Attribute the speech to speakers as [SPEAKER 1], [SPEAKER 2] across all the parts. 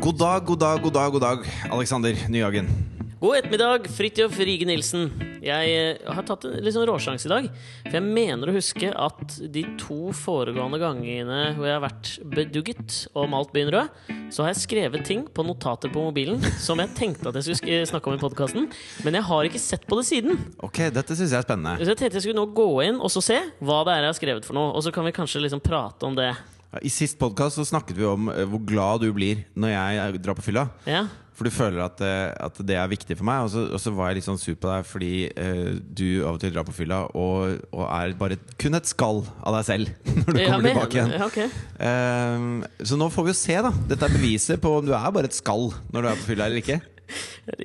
[SPEAKER 1] God dag, god dag, god dag, god dag, Alexander Nyhagen.
[SPEAKER 2] God ettermiddag, Fridtjof Rige Nilsen. Jeg eh, har tatt en litt sånn råsjanse i dag. For jeg mener å huske at de to foregående gangene hvor jeg har vært bedugget og malt byen rød, så har jeg skrevet ting på notater på mobilen som jeg tenkte at jeg skulle sk- eh, snakke om i podkasten. Men jeg har ikke sett på det siden.
[SPEAKER 1] Ok, dette syns jeg er spennende.
[SPEAKER 2] Så jeg tenkte jeg skulle nå gå inn og så se hva det er jeg har skrevet for noe. Og så kan vi kanskje liksom prate om det.
[SPEAKER 1] I sist podkast snakket vi om eh, hvor glad du blir når jeg eh, drar på fylla.
[SPEAKER 2] Ja,
[SPEAKER 1] For du føler at, eh, at det er viktig for meg. Og så, og så var jeg litt sånn sur på deg fordi eh, du av og til drar på fylla og, og er bare kun et skall av deg selv når du
[SPEAKER 2] Ja,
[SPEAKER 1] kommer
[SPEAKER 2] men-
[SPEAKER 1] tilbake igjen.
[SPEAKER 2] Ja, ok.
[SPEAKER 1] Ehm, så nå får vi jo se, da. Dette er beviset på om du er bare et skall når du er på fylla eller ikke.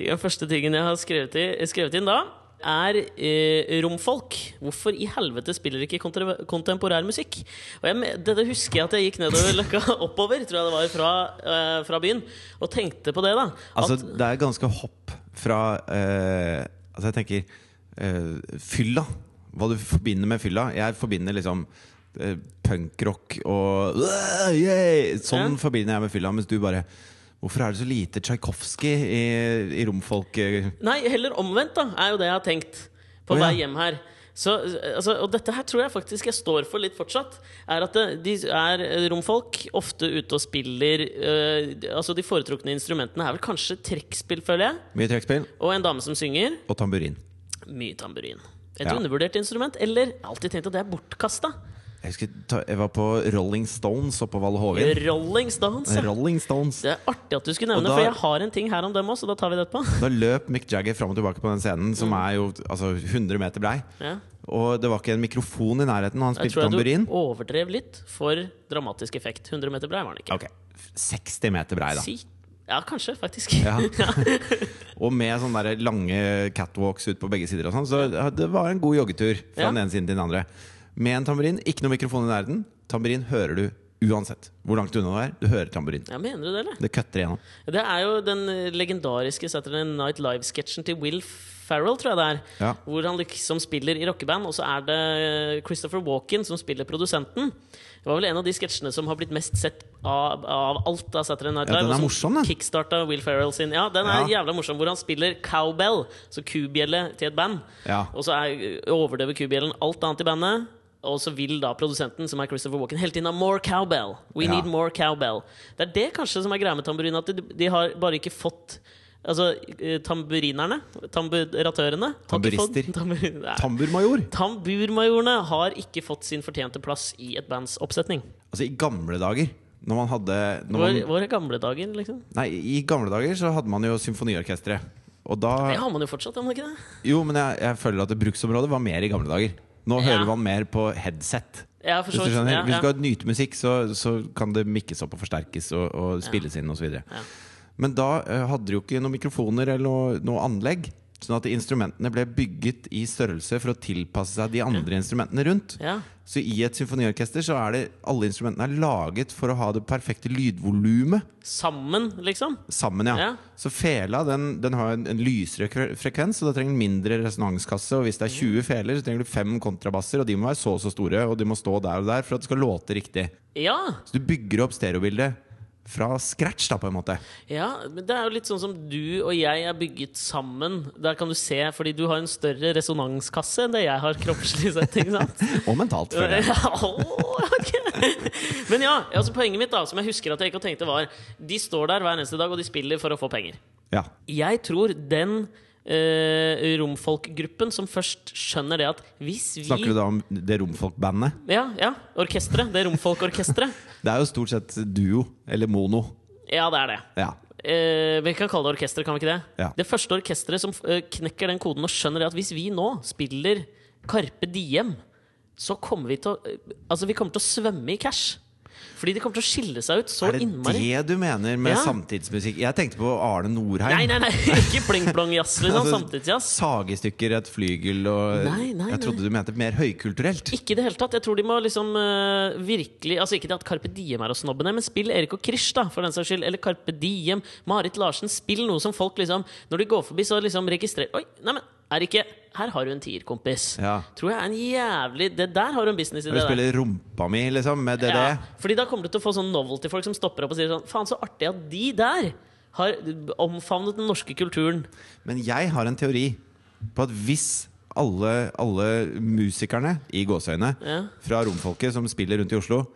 [SPEAKER 2] Den første tingen jeg har skrevet, i, skrevet inn da, er eh, romfolk. Hvorfor i helvete spiller ikke kontra- kontemporær musikk? Og jeg, me- dette husker jeg at jeg gikk nedover løkka oppover, tror jeg det var, fra, eh, fra byen, og tenkte på det, da. At,
[SPEAKER 1] Altså, det er ganske hopp fra eh, Altså, jeg tenker eh, fylla. Hva du forbinder med fylla. Jeg forbinder liksom eh, punkrock og «Åh, yeah! Sånn
[SPEAKER 2] Ja.
[SPEAKER 1] forbinder jeg med fylla, mens du bare Hvorfor er det så lite Tsjajkovskij i, i romfolk? eh?»
[SPEAKER 2] nei, heller omvendt, da, er jo det jeg har tenkt
[SPEAKER 1] Å,
[SPEAKER 2] på
[SPEAKER 1] ja.
[SPEAKER 2] vei hjem her. Så, eh, altså, og dette her tror jeg faktisk jeg står for litt fortsatt. Er at det, de er eh, romfolk, ofte ute og spiller eh, Altså De foretrukne instrumentene er vel kanskje trekkspill, føler jeg.
[SPEAKER 1] Mye trekkspill
[SPEAKER 2] Og en dame som synger.
[SPEAKER 1] og tamburin.
[SPEAKER 2] Mye tamburin. Et
[SPEAKER 1] Ja.
[SPEAKER 2] undervurdert instrument, eller jeg har alltid tenkt at det er bortkasta.
[SPEAKER 1] Jeg husker ta, jeg var på Rolling Stones oppe på Valle Hovin.
[SPEAKER 2] Rolling Stones. ja.
[SPEAKER 1] Rolling Stones.
[SPEAKER 2] Det er artig at du skulle
[SPEAKER 1] Og
[SPEAKER 2] nevne,
[SPEAKER 1] da-
[SPEAKER 2] for jeg har en ting her om dem òg, så da tar vi det etterpå.
[SPEAKER 1] Da løp Mick Jagger fram og tilbake på den scenen,
[SPEAKER 2] Mm.
[SPEAKER 1] som er jo altså, 100 meter blei.
[SPEAKER 2] Ja.
[SPEAKER 1] Og det var ikke en mikrofon i nærheten, og han spilte
[SPEAKER 2] Jeg tror jeg
[SPEAKER 1] tamburin.
[SPEAKER 2] du overdrev litt for dramatisk effekt. 100 meter brei var den ikke.
[SPEAKER 1] Ok, 60 meter brei, da.
[SPEAKER 2] Si Ja, kanskje, faktisk.
[SPEAKER 1] Ja. og med sånne der lange catwalks ut på begge sider. Og sånn, så ja, det var en god joggetur fra
[SPEAKER 2] Ja.
[SPEAKER 1] den ene siden til den andre. Med en tamburin, ikke noe mikrofon i nærheten. Tamburin hører du uansett hvor langt unna du er. Du hører tamburin.
[SPEAKER 2] Ja, mener du det, eller?
[SPEAKER 1] Det kutter igjennom.
[SPEAKER 2] Det er jo den eh, legendariske Saturday Night Live-sketsjen til Will Ferrell, tror jeg det er.
[SPEAKER 1] Ja.
[SPEAKER 2] Hvor han liksom spiller i rockeband, og så er det eh, Christopher Walken som spiller produsenten. Det var vel en av de sketsjene som har blitt mest sett av, av alt av Saturday Night
[SPEAKER 1] Ja,
[SPEAKER 2] Live.
[SPEAKER 1] den er
[SPEAKER 2] og som
[SPEAKER 1] morsom, den.
[SPEAKER 2] Kickstarta Will Ferrell sin. Ja, den er
[SPEAKER 1] Ja.
[SPEAKER 2] jævla morsom. Hvor han spiller cowbell, så kubjelle til et band.
[SPEAKER 1] Ja.
[SPEAKER 2] Og så er, eh, overdøver kubjellen alt annet i bandet. Og så vil da produsenten, som er Christopher Walken, hele tiden ha 'more cowbell'. We
[SPEAKER 1] Ja.
[SPEAKER 2] need more cowbell. Det er det kanskje som er greia med tamburin, at de, de har bare ikke fått Altså, eh, tamburinerne, tamburatørene har ikke
[SPEAKER 1] Tamburister.
[SPEAKER 2] fått- tambur- nei.
[SPEAKER 1] Tamburmajor!
[SPEAKER 2] Tamburmajorene har ikke fått sin fortjente plass i et bands oppsetning.
[SPEAKER 1] Altså, i gamle dager, når man hadde når
[SPEAKER 2] Vår,
[SPEAKER 1] man,
[SPEAKER 2] våre gamle dager, liksom.
[SPEAKER 1] Nei, i gamle dager så hadde man jo symfoniorkestret. Og da
[SPEAKER 2] Det har man jo fortsatt, har man ikke det?
[SPEAKER 1] Jo, men jeg, jeg føler at det bruksområdet var mer i gamle dager. Nå
[SPEAKER 2] Ja.
[SPEAKER 1] hører man mer på headset.
[SPEAKER 2] Ja, for
[SPEAKER 1] Hvis
[SPEAKER 2] så
[SPEAKER 1] du
[SPEAKER 2] vidt.
[SPEAKER 1] skjønner,
[SPEAKER 2] Ja,
[SPEAKER 1] hvis du
[SPEAKER 2] ja.
[SPEAKER 1] skal nyte musikk, så, så kan det mikkes opp og forsterkes og, og spilles inn osv.
[SPEAKER 2] Ja.
[SPEAKER 1] Men da eh, hadde de jo ikke noen mikrofoner eller noe, noe anlegg. Sånn at instrumentene ble bygget i størrelse for å tilpasse seg de andre instrumentene rundt.
[SPEAKER 2] Ja.
[SPEAKER 1] Så i et symfoniorkester så er det alle instrumentene er laget for å ha det perfekte lydvolumet
[SPEAKER 2] Sammen, liksom.
[SPEAKER 1] sammen. ja,
[SPEAKER 2] Ja.
[SPEAKER 1] Så fela den, den har en, en lysere kre- frekvens, og da trenger den mindre resonanskasse. Og hvis
[SPEAKER 2] Mm.
[SPEAKER 1] det er 20 feler, så trenger du fem kontrabasser, og de må være så og så store. Og de må stå der og der for at det skal låte riktig.
[SPEAKER 2] Ja!
[SPEAKER 1] Så du bygger opp stereobildet fra scratch, da, på en måte.
[SPEAKER 2] Ja, men det er jo litt sånn som du og jeg er bygget sammen. Der kan du se, fordi du har en større resonanskasse enn det jeg har kroppslig sett. ikke sant?
[SPEAKER 1] Og mentalt, føler jeg.
[SPEAKER 2] Ja, åh, ok. Men ja, altså poenget mitt da, som jeg husker at jeg ikke tenkte var De står der hver eneste dag, og de spiller for å få penger.
[SPEAKER 1] Ja.
[SPEAKER 2] Jeg tror den eh, romfolkgruppen som først skjønner det at hvis vi
[SPEAKER 1] Snakker du da om det romfolkbandet?
[SPEAKER 2] Ja, ja, orkestret. Det romfolkorkesteret.
[SPEAKER 1] Det er jo stort sett duo, eller mono.
[SPEAKER 2] Ja, det er det.
[SPEAKER 1] Ja.
[SPEAKER 2] Eh, vi kan kalle det orkester, kan vi ikke det?
[SPEAKER 1] Ja.
[SPEAKER 2] Det første orkesteret som eh, knekker den koden og skjønner at hvis vi nå spiller Carpe Diem, så kommer vi til å eh, Altså, vi kommer til å svømme i cash. Fordi de kommer til å skille seg ut så
[SPEAKER 1] Er det
[SPEAKER 2] innmari.
[SPEAKER 1] det du mener med
[SPEAKER 2] Ja.
[SPEAKER 1] samtidsmusikk? Jeg tenkte på Arne Norheim.
[SPEAKER 2] Nei, nei, nei, ikke pling-plong-jazz, liksom.
[SPEAKER 1] Altså,
[SPEAKER 2] Samtidsjazz.
[SPEAKER 1] Sagestykker, et flygel og
[SPEAKER 2] Nei, nei,
[SPEAKER 1] Jeg trodde du mente mer høykulturelt.
[SPEAKER 2] Ikke i det hele tatt. Jeg tror de må liksom eh, virkelig Altså Ikke det at Carpe Diem er å snobbe ned, men spill Erik og Krish, da, for den saks skyld. Eller Carpe Diem, Marit Larsen. Spill noe som folk liksom Når de går forbi, så liksom registrerer Oi, neimen, er ikke 'her har du en tier, kompis'.
[SPEAKER 1] Ja.
[SPEAKER 2] Tror jeg er en jævlig Det der har du en business i.
[SPEAKER 1] Når
[SPEAKER 2] det
[SPEAKER 1] du
[SPEAKER 2] der.
[SPEAKER 1] spiller rumpa mi, liksom, med DDE.
[SPEAKER 2] Ja, fordi da kommer du til å få sånn novelty-folk som stopper opp og sier sånn Faen, så artig at de der har omfavnet den norske kulturen.
[SPEAKER 1] Men jeg har en teori på at hvis alle, alle musikerne i gåseøyne
[SPEAKER 2] Ja.
[SPEAKER 1] fra romfolket som spiller rundt i Oslo,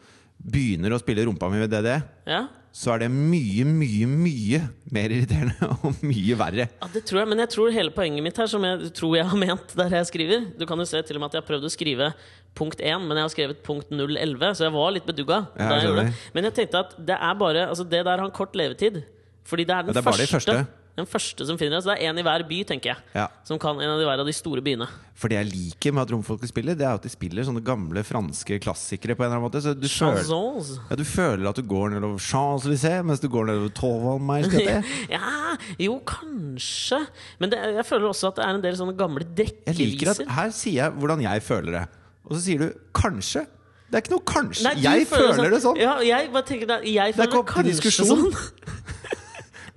[SPEAKER 1] begynner å spille rumpa mi ved DDE,
[SPEAKER 2] Ja,
[SPEAKER 1] E, så er det mye, mye, mye mer irriterende og mye verre.
[SPEAKER 2] ja det tror jeg, Men jeg tror hele poenget mitt her, som jeg tror jeg har ment der jeg skriver Du kan jo se til og med at jeg har prøvd å skrive punkt 1, men jeg har skrevet punkt 011, så jeg var litt bedugga.
[SPEAKER 1] Ja,
[SPEAKER 2] da
[SPEAKER 1] jeg
[SPEAKER 2] jeg gjorde
[SPEAKER 1] skjønner.
[SPEAKER 2] det. Men jeg tenkte at det er bare Altså, det der har en kort levetid. Fordi det er den
[SPEAKER 1] Ja, det er bare de
[SPEAKER 2] første,
[SPEAKER 1] første.
[SPEAKER 2] Den første som finner det. Så det er én i hver by, tenker jeg.
[SPEAKER 1] Ja.
[SPEAKER 2] Som kan en av de hver av de store byene.
[SPEAKER 1] For det jeg liker med at romfolket spiller, Det er at de spiller sånne gamle franske klassikere på en eller annen måte. Så du føler,
[SPEAKER 2] Chansons.
[SPEAKER 1] ja, du føler at du går nedover Champs-Élysées mens du går nedover Tovalmeier.
[SPEAKER 2] Ja, jo, kanskje. Men det, jeg føler også at det er en del sånne gamle
[SPEAKER 1] Jeg liker at
[SPEAKER 2] drikkeviser.
[SPEAKER 1] her sier jeg hvordan jeg føler det. Og så sier du 'kanskje'. Det er ikke noe 'kanskje'.
[SPEAKER 2] Nei, du
[SPEAKER 1] jeg føler, det sånn.
[SPEAKER 2] Ja, jeg bare tenker det, jeg
[SPEAKER 1] er
[SPEAKER 2] føler det
[SPEAKER 1] ikke opp til
[SPEAKER 2] kanskje
[SPEAKER 1] diskusjon.
[SPEAKER 2] sånn.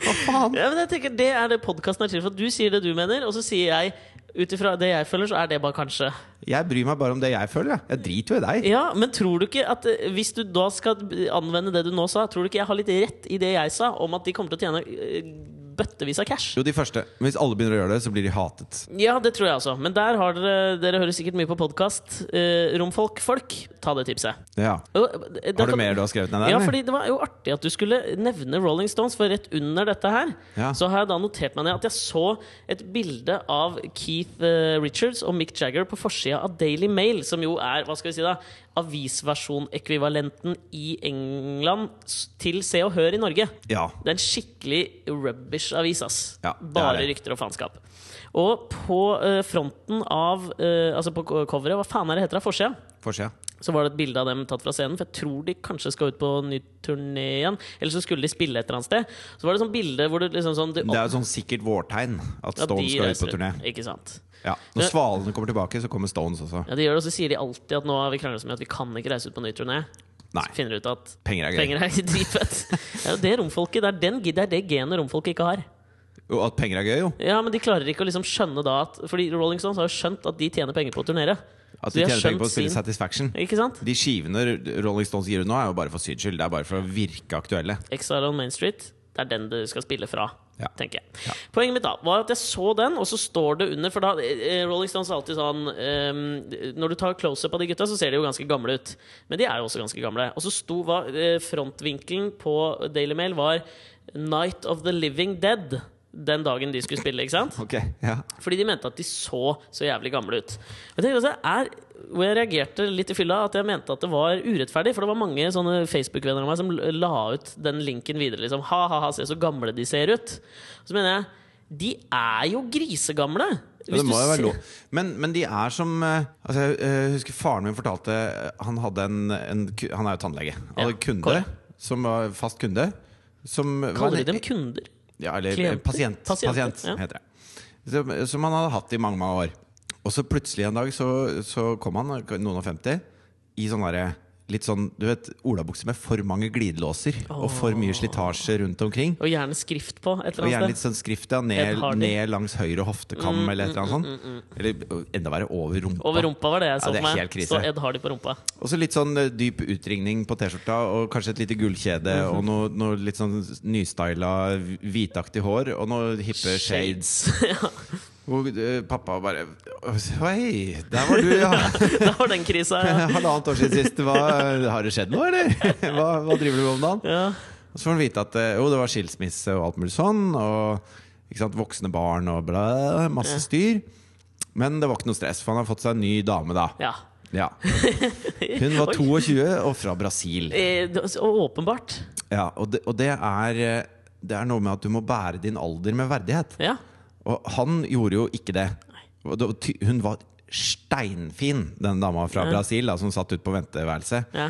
[SPEAKER 1] Hva faen?
[SPEAKER 2] Ja, men jeg tenker Det er det podkasten er til for. Du sier det du mener, og så sier jeg ut ifra det jeg føler, så er det bare kanskje.
[SPEAKER 1] Jeg bryr meg bare om det jeg føler. Jeg, jeg driter jo i deg.
[SPEAKER 2] Ja, Men tror du ikke at eh, hvis du da skal anvende det du nå sa, tror du ikke jeg har litt rett i det jeg sa om at de kommer til å tjene eh, bøttevis av cash?
[SPEAKER 1] Jo, de første. Men hvis alle begynner å gjøre det, så blir de hatet.
[SPEAKER 2] Ja, det tror jeg også. Men der har dere Dere hører sikkert mye på podkast. Eh, romfolk, folk, ta det tipset.
[SPEAKER 1] Ja.
[SPEAKER 2] Jo, da
[SPEAKER 1] Har du
[SPEAKER 2] kan-
[SPEAKER 1] mer du har skrevet ned der?
[SPEAKER 2] Ja,
[SPEAKER 1] eller?
[SPEAKER 2] fordi det var jo artig at du skulle nevne Rolling Stones, for rett under dette her
[SPEAKER 1] Ja.
[SPEAKER 2] så har jeg da notert meg ned at jeg så et bilde av Keith eh, Richards og Mick Jagger på forsida av Daily Mail, som jo er hva skal vi si da, avisversjonekvivalenten i England s- til Se og Hør i Norge.
[SPEAKER 1] ja.
[SPEAKER 2] Det er en skikkelig rubbish-avis, ass.
[SPEAKER 1] Ja, det er
[SPEAKER 2] Bare
[SPEAKER 1] det.
[SPEAKER 2] rykter og faenskap. Og på eh, fronten av eh, Altså på co- coveret, hva faen er det heter av forsida?
[SPEAKER 1] Forsida.
[SPEAKER 2] Så var det et bilde av dem tatt fra scenen, for jeg tror de kanskje skal ut på ny turné igjen. Eller så skulle de spille et eller annet sted. Så var det sånn bilde hvor det liksom sånn
[SPEAKER 1] Det er jo sånn sikkert vårtegn at
[SPEAKER 2] at
[SPEAKER 1] Stones
[SPEAKER 2] de
[SPEAKER 1] skal ut
[SPEAKER 2] reiser
[SPEAKER 1] på turné.
[SPEAKER 2] Ikke sant.
[SPEAKER 1] Ja. Når svalene kommer tilbake, så kommer Stones også.
[SPEAKER 2] Ja, de gjør det, og så sier de alltid at nå har vi krangla så mye at vi kan ikke reise ut på ny turné.
[SPEAKER 1] Nei.
[SPEAKER 2] Så finner de ut at
[SPEAKER 1] Penger er gøy.
[SPEAKER 2] penger er ikke dritfett. Det er jo det romfolket, det er, den, det er det genet romfolket ikke har.
[SPEAKER 1] Jo, at penger er gøy, jo.
[SPEAKER 2] Ja, men de klarer ikke å liksom skjønne da at Fordi Rolling Stones har jo skjønt at de tjener penger på å turnere.
[SPEAKER 1] At
[SPEAKER 2] Så
[SPEAKER 1] de
[SPEAKER 2] har
[SPEAKER 1] tjener penger på å
[SPEAKER 2] skjønt
[SPEAKER 1] spille
[SPEAKER 2] sin-
[SPEAKER 1] Satisfaction.
[SPEAKER 2] Ikke sant?
[SPEAKER 1] De skivene Rolling Stones gir ut nå, er jo bare for syns skyld. Det er bare for å virke aktuelle.
[SPEAKER 2] Exile on Main Street. Det er den du skal spille fra.
[SPEAKER 1] Ja.
[SPEAKER 2] tenker jeg Poenget mitt da var at jeg så den, og så står det under For da, eh, Rolling Stones er alltid sånn eh, Når du tar close-up av de gutta, så ser de jo ganske gamle ut. Men de er jo også ganske gamle. Og så sto var, eh, frontvinkelen på Daily Mail var 'Night of the Living Dead'. Den dagen de skulle spille, ikke sant?
[SPEAKER 1] Ok, ja
[SPEAKER 2] Fordi de mente at de så så jævlig gamle ut. Jeg tenker også, er, hvor jeg reagerte litt i fylla, at jeg mente at det var urettferdig. For det var mange sånne Facebook-venner av meg som l- la ut den linken videre. Liksom, ha, ha, ha, se så gamle de ser ut. Så mener jeg, de er jo grisegamle!
[SPEAKER 1] Ja, det
[SPEAKER 2] Hvis
[SPEAKER 1] må
[SPEAKER 2] du
[SPEAKER 1] jo være
[SPEAKER 2] ser-
[SPEAKER 1] lov. Men, men de er som eh, altså, Jeg eh, husker faren min fortalte eh, Han, hadde en, en, ku- han er jo tannlege. Han hadde
[SPEAKER 2] Ja,
[SPEAKER 1] en kunde
[SPEAKER 2] Kåre.
[SPEAKER 1] som var fast kunde. Som var
[SPEAKER 2] Kaller de
[SPEAKER 1] en-
[SPEAKER 2] dem kunder?
[SPEAKER 1] ja, eller, eh,
[SPEAKER 2] klienter?
[SPEAKER 1] Pasient,
[SPEAKER 2] Pasienter,
[SPEAKER 1] pasient
[SPEAKER 2] ja.
[SPEAKER 1] heter det. Som, som han hadde hatt i mange, mange år. Og så plutselig en dag så, så kom han, noen og femti, i sånn derre Litt sånn, du vet, olabukse med for mange glidelåser og for mye slitasje rundt omkring.
[SPEAKER 2] Og gjerne skrift på et
[SPEAKER 1] Og
[SPEAKER 2] eller
[SPEAKER 1] gjerne
[SPEAKER 2] annet
[SPEAKER 1] litt
[SPEAKER 2] sted?
[SPEAKER 1] sånn skrift ja,
[SPEAKER 2] Ed
[SPEAKER 1] ned,
[SPEAKER 2] Hardy.
[SPEAKER 1] ned langs høyre hoftekam
[SPEAKER 2] Mm,
[SPEAKER 1] eller et eller annet sånt. Eller ø, enda verre, over rumpa.
[SPEAKER 2] Over rumpa var det jeg så
[SPEAKER 1] Ja, det er
[SPEAKER 2] for meg.
[SPEAKER 1] helt krise.
[SPEAKER 2] Så Ed har de på rumpa.
[SPEAKER 1] Og så litt sånn ø, dyp utringning på T-skjorta, og kanskje et lite gullkjede,
[SPEAKER 2] Mhm.
[SPEAKER 1] og noe, noe litt sånn nystyla hvitaktig hår, og noe hippe shades.
[SPEAKER 2] ja,
[SPEAKER 1] Og ø, pappa bare Hei, der var du, ja!
[SPEAKER 2] da var den krisa, ja.
[SPEAKER 1] Halvannet år siden sist. Hva, har det skjedd noe, eller? Hva, hva driver du med om dagen?
[SPEAKER 2] ja.
[SPEAKER 1] Og så får han vite at eh, jo, det var skilsmisse og alt mulig sånn. Og ikke sant, voksne barn og bla, masse styr. Men det var ikke noe stress, for han har fått seg en ny dame da.
[SPEAKER 2] ja.
[SPEAKER 1] Ja. Hun var 22 og fra Brasil.
[SPEAKER 2] Eh, det- Og åpenbart.
[SPEAKER 1] Ja, og det, og det er eh, det er noe med at du må bære din alder med verdighet.
[SPEAKER 2] Ja.
[SPEAKER 1] Og han gjorde jo ikke det. Og det var ty- Hun var steinfin, den dama fra Brasil da, som satt ute på venteværelset.
[SPEAKER 2] ja.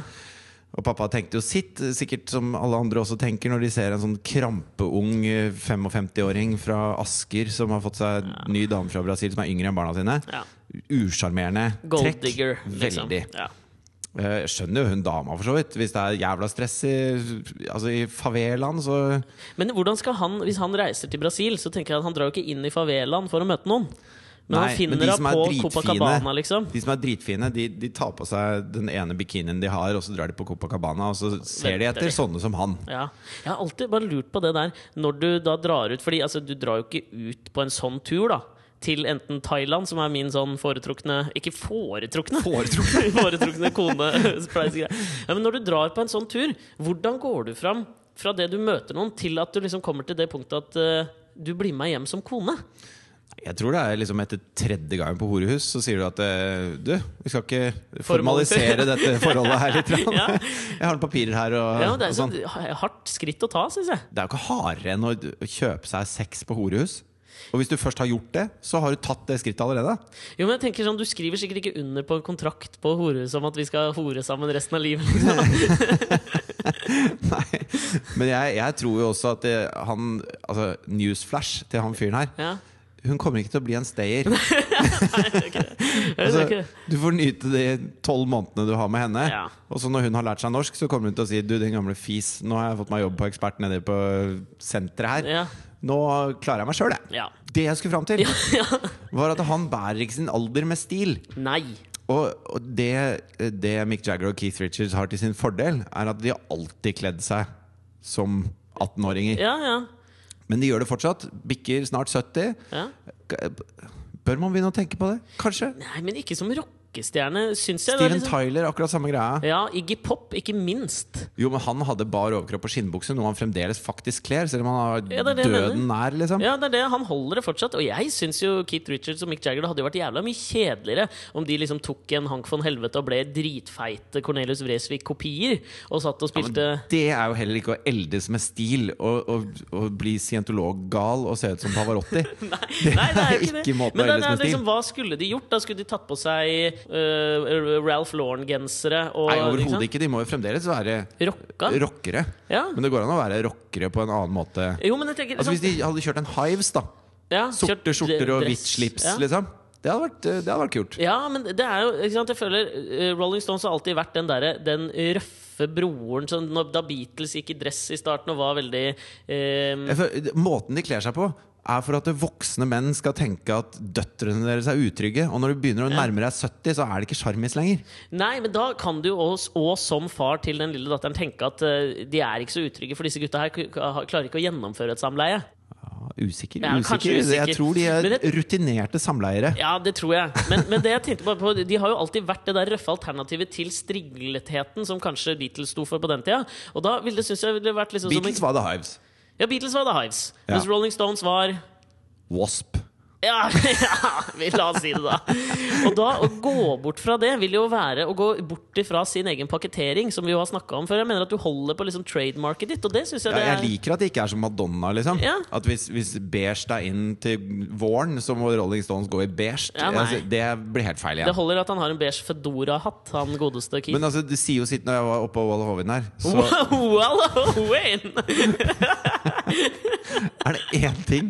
[SPEAKER 1] Og pappa tenkte jo sitt, sikkert som alle andre også tenker når de ser en sånn krampeung eh, 55-åring fra Asker som har fått seg ny dame fra Brasil som er yngre enn barna sine.
[SPEAKER 2] Ja.
[SPEAKER 1] Usjarmerende
[SPEAKER 2] Gold
[SPEAKER 1] trekk.
[SPEAKER 2] digger, liksom.
[SPEAKER 1] Veldig.
[SPEAKER 2] Ja.
[SPEAKER 1] Eh, Jeg skjønner jo hun dama, for så vidt. Hvis det er jævla stress i, altså i favelaen, så
[SPEAKER 2] Men hvordan skal han, hvis han reiser til Brasil, så tenker jeg at han drar jo ikke inn i favelaen for å møte noen. Men
[SPEAKER 1] Nei,
[SPEAKER 2] han finner
[SPEAKER 1] men de som
[SPEAKER 2] henne
[SPEAKER 1] er
[SPEAKER 2] på
[SPEAKER 1] dritfine-
[SPEAKER 2] Copacabana, liksom.
[SPEAKER 1] De som er dritfine, de, de tar på seg den ene bikinien de har, og så drar de på Copacabana, og så ser de
[SPEAKER 2] Venter
[SPEAKER 1] etter
[SPEAKER 2] de.
[SPEAKER 1] sånne som han.
[SPEAKER 2] Ja. Jeg har alltid bare lurt på det der når du da drar ut Fordi altså, du drar jo ikke ut på en sånn tur, da. Til enten Thailand, som er min sånn foretrukne Ikke foretrukne!
[SPEAKER 1] Foretrukne.
[SPEAKER 2] foretrukne kone. spleisegreie. ja, men når du drar på en sånn tur, hvordan går du fram fra det du møter noen, til at du liksom kommer til det punktet at eh, du blir med hjem som kone?
[SPEAKER 1] Jeg tror det er liksom etter tredje gangen på horehus, så sier du at eh, Du, vi skal ikke
[SPEAKER 2] Formalisere.
[SPEAKER 1] formalisere dette forholdet her litt. grann.
[SPEAKER 2] Ja.
[SPEAKER 1] Jeg har noen papirer her og,
[SPEAKER 2] Ja, men Det er
[SPEAKER 1] og
[SPEAKER 2] så
[SPEAKER 1] sånn.
[SPEAKER 2] hardt skritt å ta, syns jeg.
[SPEAKER 1] Det er jo ikke hardere enn å å kjøpe seg sex på horehus. Og hvis du først har gjort det, så har du tatt det skrittet allerede.
[SPEAKER 2] Jo, men jeg tenker sånn, Du skriver sikkert ikke under på en kontrakt på horehuset om at vi skal hore sammen resten av livet. Liksom.
[SPEAKER 1] Nei. Men jeg, jeg tror jo også at det, han Altså, newsflash til han fyren her.
[SPEAKER 2] Ja.
[SPEAKER 1] Hun kommer ikke til å bli en stayer.
[SPEAKER 2] Jeg vet
[SPEAKER 1] Altså,
[SPEAKER 2] ikke.
[SPEAKER 1] du får nyte de tolv månedene du har med henne.
[SPEAKER 2] Ja.
[SPEAKER 1] Og så når hun har lært seg norsk, så kommer hun til å si Du, din gamle fis, nå har jeg fått meg jobb på Ekspert nede på senteret her.
[SPEAKER 2] Ja.
[SPEAKER 1] Nå klarer jeg meg sjøl, jeg.
[SPEAKER 2] Ja.
[SPEAKER 1] Det jeg skulle fram til,
[SPEAKER 2] ja.
[SPEAKER 1] var at han bærer ikke sin alder med stil.
[SPEAKER 2] Nei.
[SPEAKER 1] Og, og det, det Mick Jagger og Keith Richards har til sin fordel, er at de har alltid kledd seg som 18-åringer.
[SPEAKER 2] Ja, ja.
[SPEAKER 1] Men de gjør det fortsatt. Bikker snart 70.
[SPEAKER 2] ja.
[SPEAKER 1] Bør man begynne å tenke på det? Kanskje?
[SPEAKER 2] Nei, men ikke som rockestjerne, syns jeg. Det er
[SPEAKER 1] Steven
[SPEAKER 2] liksom-
[SPEAKER 1] Tyler, akkurat samme greia.
[SPEAKER 2] Ja, Iggy Pop, ikke minst.
[SPEAKER 1] Jo, men han hadde bar overkropp og skinnbukse, noe han fremdeles faktisk kler, selv om han
[SPEAKER 2] Ja,
[SPEAKER 1] har
[SPEAKER 2] det er det jeg
[SPEAKER 1] døden nær, liksom.
[SPEAKER 2] Ja, det er det, Han holder det fortsatt. Og jeg syns jo Keith Richards og Mick Jagger det hadde jo vært jævla mye kjedeligere om de liksom tok en Hank von Helvete og ble dritfeite Cornelius Vresvig-kopier og satt og spilte
[SPEAKER 1] Det er jo heller ikke å eldes med stil og, og, og bli scientologgal og se ut som Pavarotti.
[SPEAKER 2] Nei, det er jo ikke
[SPEAKER 1] ikke
[SPEAKER 2] det.
[SPEAKER 1] måten
[SPEAKER 2] Men
[SPEAKER 1] å
[SPEAKER 2] da,
[SPEAKER 1] eldes
[SPEAKER 2] det er
[SPEAKER 1] med
[SPEAKER 2] liksom, hva skulle de gjort? Da skulle de tatt på seg øh, Ralph Lauren-gensere og
[SPEAKER 1] Nei,
[SPEAKER 2] liksom,
[SPEAKER 1] overhodet ikke. De må jo fremdeles være
[SPEAKER 2] Rocka?
[SPEAKER 1] rockere.
[SPEAKER 2] Ja.
[SPEAKER 1] Men det går an å være rockere på en annen måte.
[SPEAKER 2] Jo, men jeg tenker
[SPEAKER 1] Altså
[SPEAKER 2] liksom,
[SPEAKER 1] Hvis de hadde kjørt en Hives, da.
[SPEAKER 2] ja, kjørt
[SPEAKER 1] Sorte skjorter og
[SPEAKER 2] dress.
[SPEAKER 1] hvitt slips,
[SPEAKER 2] Ja.
[SPEAKER 1] liksom. Det hadde vært, det hadde vært kult.
[SPEAKER 2] Ja, men det er jo ikke sant, jeg føler eh, Rolling Stones har alltid vært den derre Den røffe broren som når, da Beatles gikk i dress i starten og var veldig eh,
[SPEAKER 1] Jeg føler- Måten de kler seg på er for at voksne menn skal tenke at døtrene deres er utrygge. Og når du begynner å nærme deg 70, så er det ikke sjarmis lenger.
[SPEAKER 2] Nei, men da kan du jo også, og som far til den lille datteren tenke at eh, de er ikke så utrygge, for disse gutta her k- k- klarer ikke å gjennomføre et samleie.
[SPEAKER 1] Ja, usikker,
[SPEAKER 2] Ja,
[SPEAKER 1] usikker.
[SPEAKER 2] kanskje usikker.
[SPEAKER 1] Jeg tror de er
[SPEAKER 2] Men
[SPEAKER 1] rutinerte samleiere.
[SPEAKER 2] Ja, det tror jeg. Men, men det jeg tenkte bare på de har jo alltid vært det der røffe alternativet til strigletheten som kanskje Beatles sto for på den tida. Og da ville, synes jeg ville vært liksom som en-
[SPEAKER 1] Beatles var The Hives.
[SPEAKER 2] Ja, Beatles var The Hives.
[SPEAKER 1] Ja.
[SPEAKER 2] Mens Rolling Stones var
[SPEAKER 1] Wasp.
[SPEAKER 2] ja, ja, vi la oss si det, da. Og da å gå bort fra det vil jo være å gå bort ifra sin egen pakketering, som vi jo har snakka om før. Jeg mener at du holder på liksom trademarket ditt, og det syns jeg
[SPEAKER 1] Ja,
[SPEAKER 2] det
[SPEAKER 1] jeg
[SPEAKER 2] er
[SPEAKER 1] liker at det ikke er som Madonna. Liksom.
[SPEAKER 2] Ja.
[SPEAKER 1] At hvis, hvis beige deg inn til våren, så må Rolling Stones gå i beige.
[SPEAKER 2] Ja, nei.
[SPEAKER 1] altså, det blir helt feil
[SPEAKER 2] Det
[SPEAKER 1] igjen.
[SPEAKER 2] holder at han har en beige Fedora-hatt, han godeste Keith.
[SPEAKER 1] Men altså, det sier jo sitt når jeg var oppe på Wall of Hovin her. Så
[SPEAKER 2] Wow, wow, Wayne!
[SPEAKER 1] er det én ting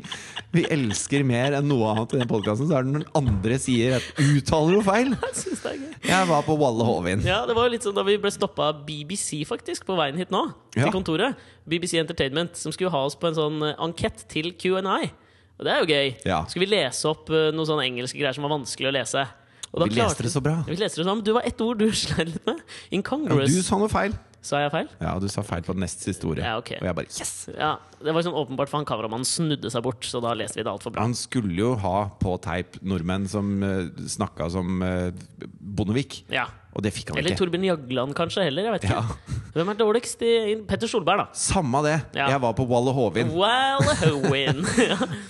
[SPEAKER 1] vi elsker mer enn noe annet i den podkasten, så er det når den andre sier at uttaler noe feil.
[SPEAKER 2] Jeg synes det er gøy.
[SPEAKER 1] Jeg var på Walle Hovin.
[SPEAKER 2] Ja, det var jo litt sånn da vi ble stoppa av BBC faktisk på veien hit nå, til
[SPEAKER 1] Ja.
[SPEAKER 2] kontoret. BBC Entertainment, som skulle ha oss på en sånn eh, ankett til Q&I. Og det er jo gøy.
[SPEAKER 1] Ja.
[SPEAKER 2] Skulle vi lese opp eh, noen sånne engelske greier som var vanskelig å lese? Og
[SPEAKER 1] Vi
[SPEAKER 2] da
[SPEAKER 1] leste
[SPEAKER 2] klarte-
[SPEAKER 1] det så bra.
[SPEAKER 2] Vi leste det sånn, men Du var ett ord du sleit litt med.
[SPEAKER 1] Og
[SPEAKER 2] Incongruous.
[SPEAKER 1] du sa noe feil.
[SPEAKER 2] Sa jeg feil?
[SPEAKER 1] Ja, du sa feil på den nest siste ordet.
[SPEAKER 2] Ja, ok.
[SPEAKER 1] Og jeg bare yes!
[SPEAKER 2] Ja, Det var sånn åpenbart, for han kameramannen snudde seg bort. Så da leste vi det alt for bra.
[SPEAKER 1] Han skulle jo ha på teip nordmenn som uh, snakka som eh, Bondevik.
[SPEAKER 2] Ja.
[SPEAKER 1] Og det fikk han
[SPEAKER 2] Eller
[SPEAKER 1] ikke.
[SPEAKER 2] Torbjørn Jagland kanskje heller. jeg vet ikke
[SPEAKER 1] Ja.
[SPEAKER 2] Hvem er dårligst? I Petter Solberg, da.
[SPEAKER 1] Samme det.
[SPEAKER 2] Ja.
[SPEAKER 1] Jeg var på Walle Hovin.
[SPEAKER 2] Well, Howen.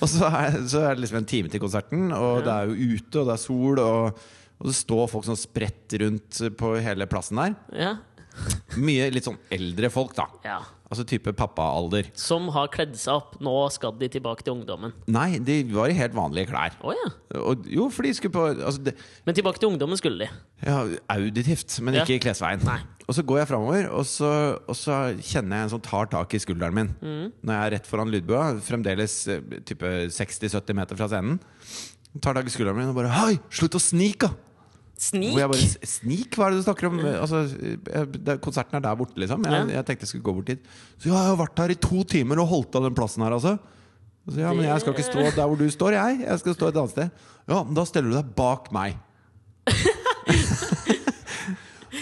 [SPEAKER 1] Og så er, så er det liksom en time til konserten, og det er jo ute, og det er sol, og, og det står folk sånn spredt rundt på hele plassen der.
[SPEAKER 2] ja.
[SPEAKER 1] Mye litt sånn eldre folk, da.
[SPEAKER 2] ja.
[SPEAKER 1] Altså type pappaalder.
[SPEAKER 2] som har kledd seg opp. Nå skal de tilbake til ungdommen.
[SPEAKER 1] Nei, de var i helt vanlige klær.
[SPEAKER 2] Å ja.
[SPEAKER 1] Og, jo, for de skulle på altså det,
[SPEAKER 2] Men tilbake til ungdommen skulle de.
[SPEAKER 1] ja, Auditivt, men
[SPEAKER 2] Ja.
[SPEAKER 1] ikke i klesveien.
[SPEAKER 2] Nei.
[SPEAKER 1] Og så går jeg framover, og, så- og så kjenner jeg en som tar tak i skulderen min.
[SPEAKER 2] Mm.
[SPEAKER 1] Når jeg er rett foran lydbua, fremdeles eh, type 60-70 meter fra scenen. Tar tak i skulderen min og bare 'Hei, slutt å snike!' da!»
[SPEAKER 2] Snik!
[SPEAKER 1] Hvor jeg bare, Snik, hva er det du snakker om? Altså, jeg, det, konserten er der borte, liksom. Jeg,
[SPEAKER 2] Ja.
[SPEAKER 1] jeg tenkte jeg skulle gå bort dit. Så ja, jeg har vært her i to timer og holdt av den plassen her, altså. Og så, ja, men jeg skal ikke stå der hvor du står, jeg. Jeg skal stå et annet sted. Ja, men da steller du deg bak meg.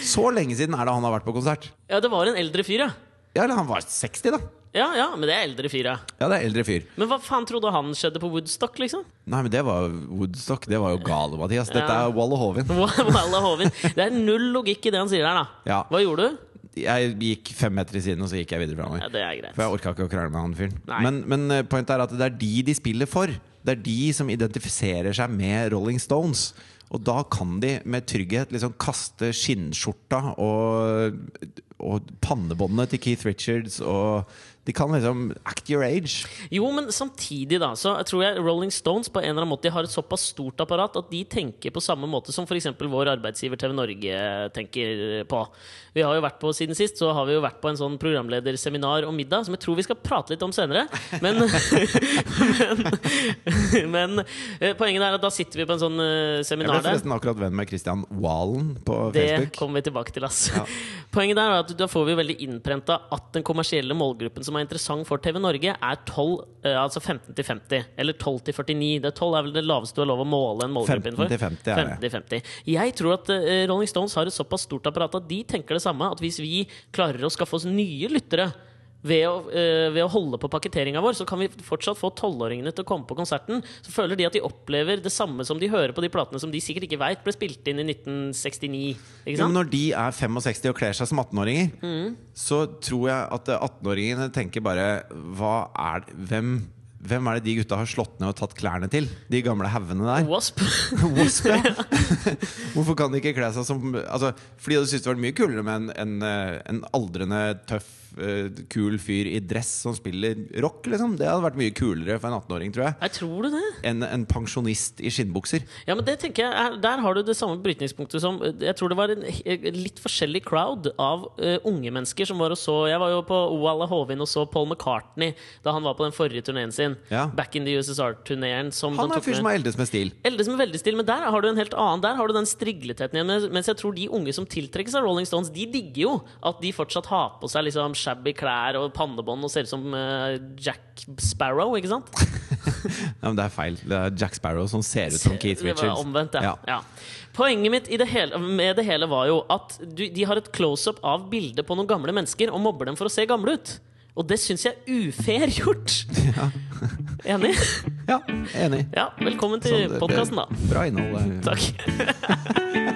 [SPEAKER 1] så lenge siden er det han har vært på konsert.
[SPEAKER 2] Ja, det var en eldre fyr, ja.
[SPEAKER 1] Ja, eller han var 60, da.
[SPEAKER 2] Ja, ja, men det er eldre fyr, ja.
[SPEAKER 1] Ja, det er eldre fyr.
[SPEAKER 2] Men hva faen trodde han skjedde på Woodstock, liksom?
[SPEAKER 1] Nei, men det var jo Woodstock. Det var jo gale, Mathias. Dette
[SPEAKER 2] Ja.
[SPEAKER 1] er Walla Hovin.
[SPEAKER 2] Walla Hovin. Det er null logikk i det han sier der, da.
[SPEAKER 1] Ja.
[SPEAKER 2] Hva gjorde du?
[SPEAKER 1] Jeg gikk fem meter i siden, og så gikk jeg videre
[SPEAKER 2] Ja,
[SPEAKER 1] framover.
[SPEAKER 2] det er greit.
[SPEAKER 1] For jeg orka ikke å krangle med han fyren.
[SPEAKER 2] Nei.
[SPEAKER 1] Men, men eh, pointet er at det er de de spiller for. Det er de som identifiserer seg med Rolling Stones. Og da kan de med trygghet liksom kaste skinnskjorta og, og pannebåndet til Keith Richards og De kan liksom act your age.
[SPEAKER 2] Jo, men samtidig da Så tror jeg Rolling Stones på en eller annen måte har et såpass stort apparat at de tenker på samme måte som f.eks. vår arbeidsgiver TV Norge tenker på. Vi har jo vært på Siden sist så har vi jo vært på en sånn programlederseminar om middag, som jeg tror vi skal prate litt om senere. Men, men, men eh, poenget er at da sitter vi på en sånn
[SPEAKER 1] Jeg
[SPEAKER 2] eh,
[SPEAKER 1] ble
[SPEAKER 2] seminar der.
[SPEAKER 1] forresten akkurat venn med Christian Valen på
[SPEAKER 2] Det
[SPEAKER 1] Facebook.
[SPEAKER 2] kommer vi tilbake til. Ass. Poenget der er at Da får vi jo veldig innprenta at den kommersielle målgruppen som er interessant for TV Norge, er 12, eh, altså 15 til 50. Eller 12 til 49. Det er 12 er vel det laveste du har lov å måle en målgruppe
[SPEAKER 1] 15 til
[SPEAKER 2] innenfor.
[SPEAKER 1] 50 er det.
[SPEAKER 2] 50 til 50. Jeg tror at eh, Rolling Stones har et såpass stort apparat at de tenker det samme. At hvis vi klarer å skaffe oss nye lyttere ved å, eh, ved å holde på pakketteringa vår, så kan vi fortsatt få tolvåringene til å komme på konserten. Så føler de at de opplever det samme som de hører på de platene som de sikkert ikke veit ble spilt inn i 1969. Ikke
[SPEAKER 1] Ja, men
[SPEAKER 2] sant?
[SPEAKER 1] når de er 65 og kler seg som 18-åringer, så tror jeg at eh, 18-åringene tenker bare hva er, det- hvem, hvem er det de gutta har slått ned og tatt klærne til? De gamle haugene der?
[SPEAKER 2] Wasp.
[SPEAKER 1] Wasp, ja. Hvorfor kan de ikke kle seg som altså, Fordi du syntes det var mye kulere med en, en, eh, en aldrende, tøff, eh, kul fyr i dress som spiller rock, liksom. Det hadde vært mye kulere for en 18-åring, tror jeg,
[SPEAKER 2] Jeg tror du det?
[SPEAKER 1] enn en pensjonist i skinnbukser.
[SPEAKER 2] Ja, men det tenker jeg er, Der har du det samme brytningspunktet som Jeg tror det var en he- eh, litt forskjellig crowd av eh, unge mennesker som var og så Jeg var jo på Oala Hovin og så Paul McCartney da han var på den forrige turneen sin.
[SPEAKER 1] Ja.
[SPEAKER 2] Back in the USSR-turneen.
[SPEAKER 1] Han er en fyr som har eldes med stil.
[SPEAKER 2] Eldre som er veldig stille, men der har du en helt annen Der har du den strigletheten igjen. mens- Mens jeg tror de unge som tiltrekkes av Rolling Stones, de digger jo at de fortsatt har på seg liksom shabby klær og pannebånd og ser ut som eh, Jack Sparrow, ikke sant?
[SPEAKER 1] Ja, men det er feil. Det er Jack Sparrow som ser ut som Keith
[SPEAKER 2] Det var
[SPEAKER 1] Richards.
[SPEAKER 2] omvendt, ja.
[SPEAKER 1] Ja.
[SPEAKER 2] ja. Poenget mitt i det hele, med det hele var jo at du, de har et close-up av bildet på noen gamle mennesker og mobber dem for å se gamle ut. Og det syns jeg er ufair gjort. Enig?
[SPEAKER 1] Ja, enig.
[SPEAKER 2] Ja, velkommen
[SPEAKER 1] Sånn,
[SPEAKER 2] til
[SPEAKER 1] det-
[SPEAKER 2] podkasten, da.
[SPEAKER 1] Bra innhold. eh. det.
[SPEAKER 2] Takk.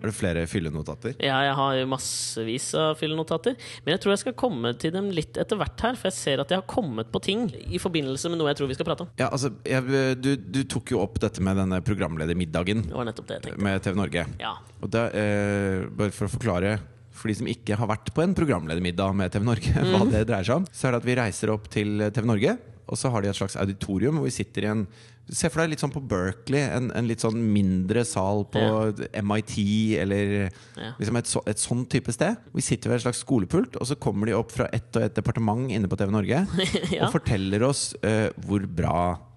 [SPEAKER 1] Er det flere fyllenotater?
[SPEAKER 2] Ja, jeg har jo massevis av fyllenotater. Men jeg tror jeg skal komme til dem litt etter hvert her, for jeg ser at jeg har kommet på ting i forbindelse med noe jeg tror vi skal prate om.
[SPEAKER 1] Ja, altså, jeg, du, du tok jo opp dette med denne programledermiddagen
[SPEAKER 2] Det var nettopp det jeg tenkte.
[SPEAKER 1] med TV Norge.
[SPEAKER 2] Ja.
[SPEAKER 1] Og da, eh, bare for å forklare for de som ikke har vært på en programledermiddag med TV Norge,
[SPEAKER 2] Mm.
[SPEAKER 1] hva det dreier seg om, så er det at vi reiser opp til TV Norge, og så har de et slags auditorium hvor vi sitter i en Se for deg litt sånn på Berkeley, en, en litt sånn mindre sal på MIT eller
[SPEAKER 2] Ja.
[SPEAKER 1] liksom et, så, et sånn type sted. Vi sitter ved et slags skolepult, og så kommer de opp fra ett og ett departement inne på TV Norge
[SPEAKER 2] Ja.
[SPEAKER 1] og forteller oss eh, hvor bra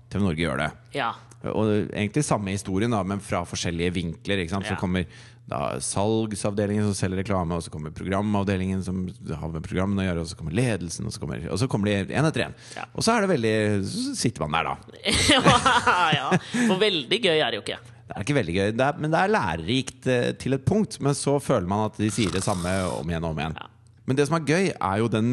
[SPEAKER 1] TV Norge gjør det.
[SPEAKER 2] ja.
[SPEAKER 1] Og egentlig samme historien, da, men fra forskjellige vinkler. Ikke sant? Så
[SPEAKER 2] Ja.
[SPEAKER 1] kommer da salgsavdelingen som selger reklame, og så kommer programavdelingen som har med programmene å gjøre, og så kommer ledelsen, og så kommer, og så kommer de én etter én.
[SPEAKER 2] Ja.
[SPEAKER 1] Og så er det veldig Så sitter man der, da.
[SPEAKER 2] ja. For veldig gøy er det jo ikke.
[SPEAKER 1] Det er ikke veldig gøy, det er, men det er lærerikt eh, til et punkt. Men så føler man at de sier det samme om igjen og om igjen.
[SPEAKER 2] Ja.
[SPEAKER 1] Men det som er gøy, er jo den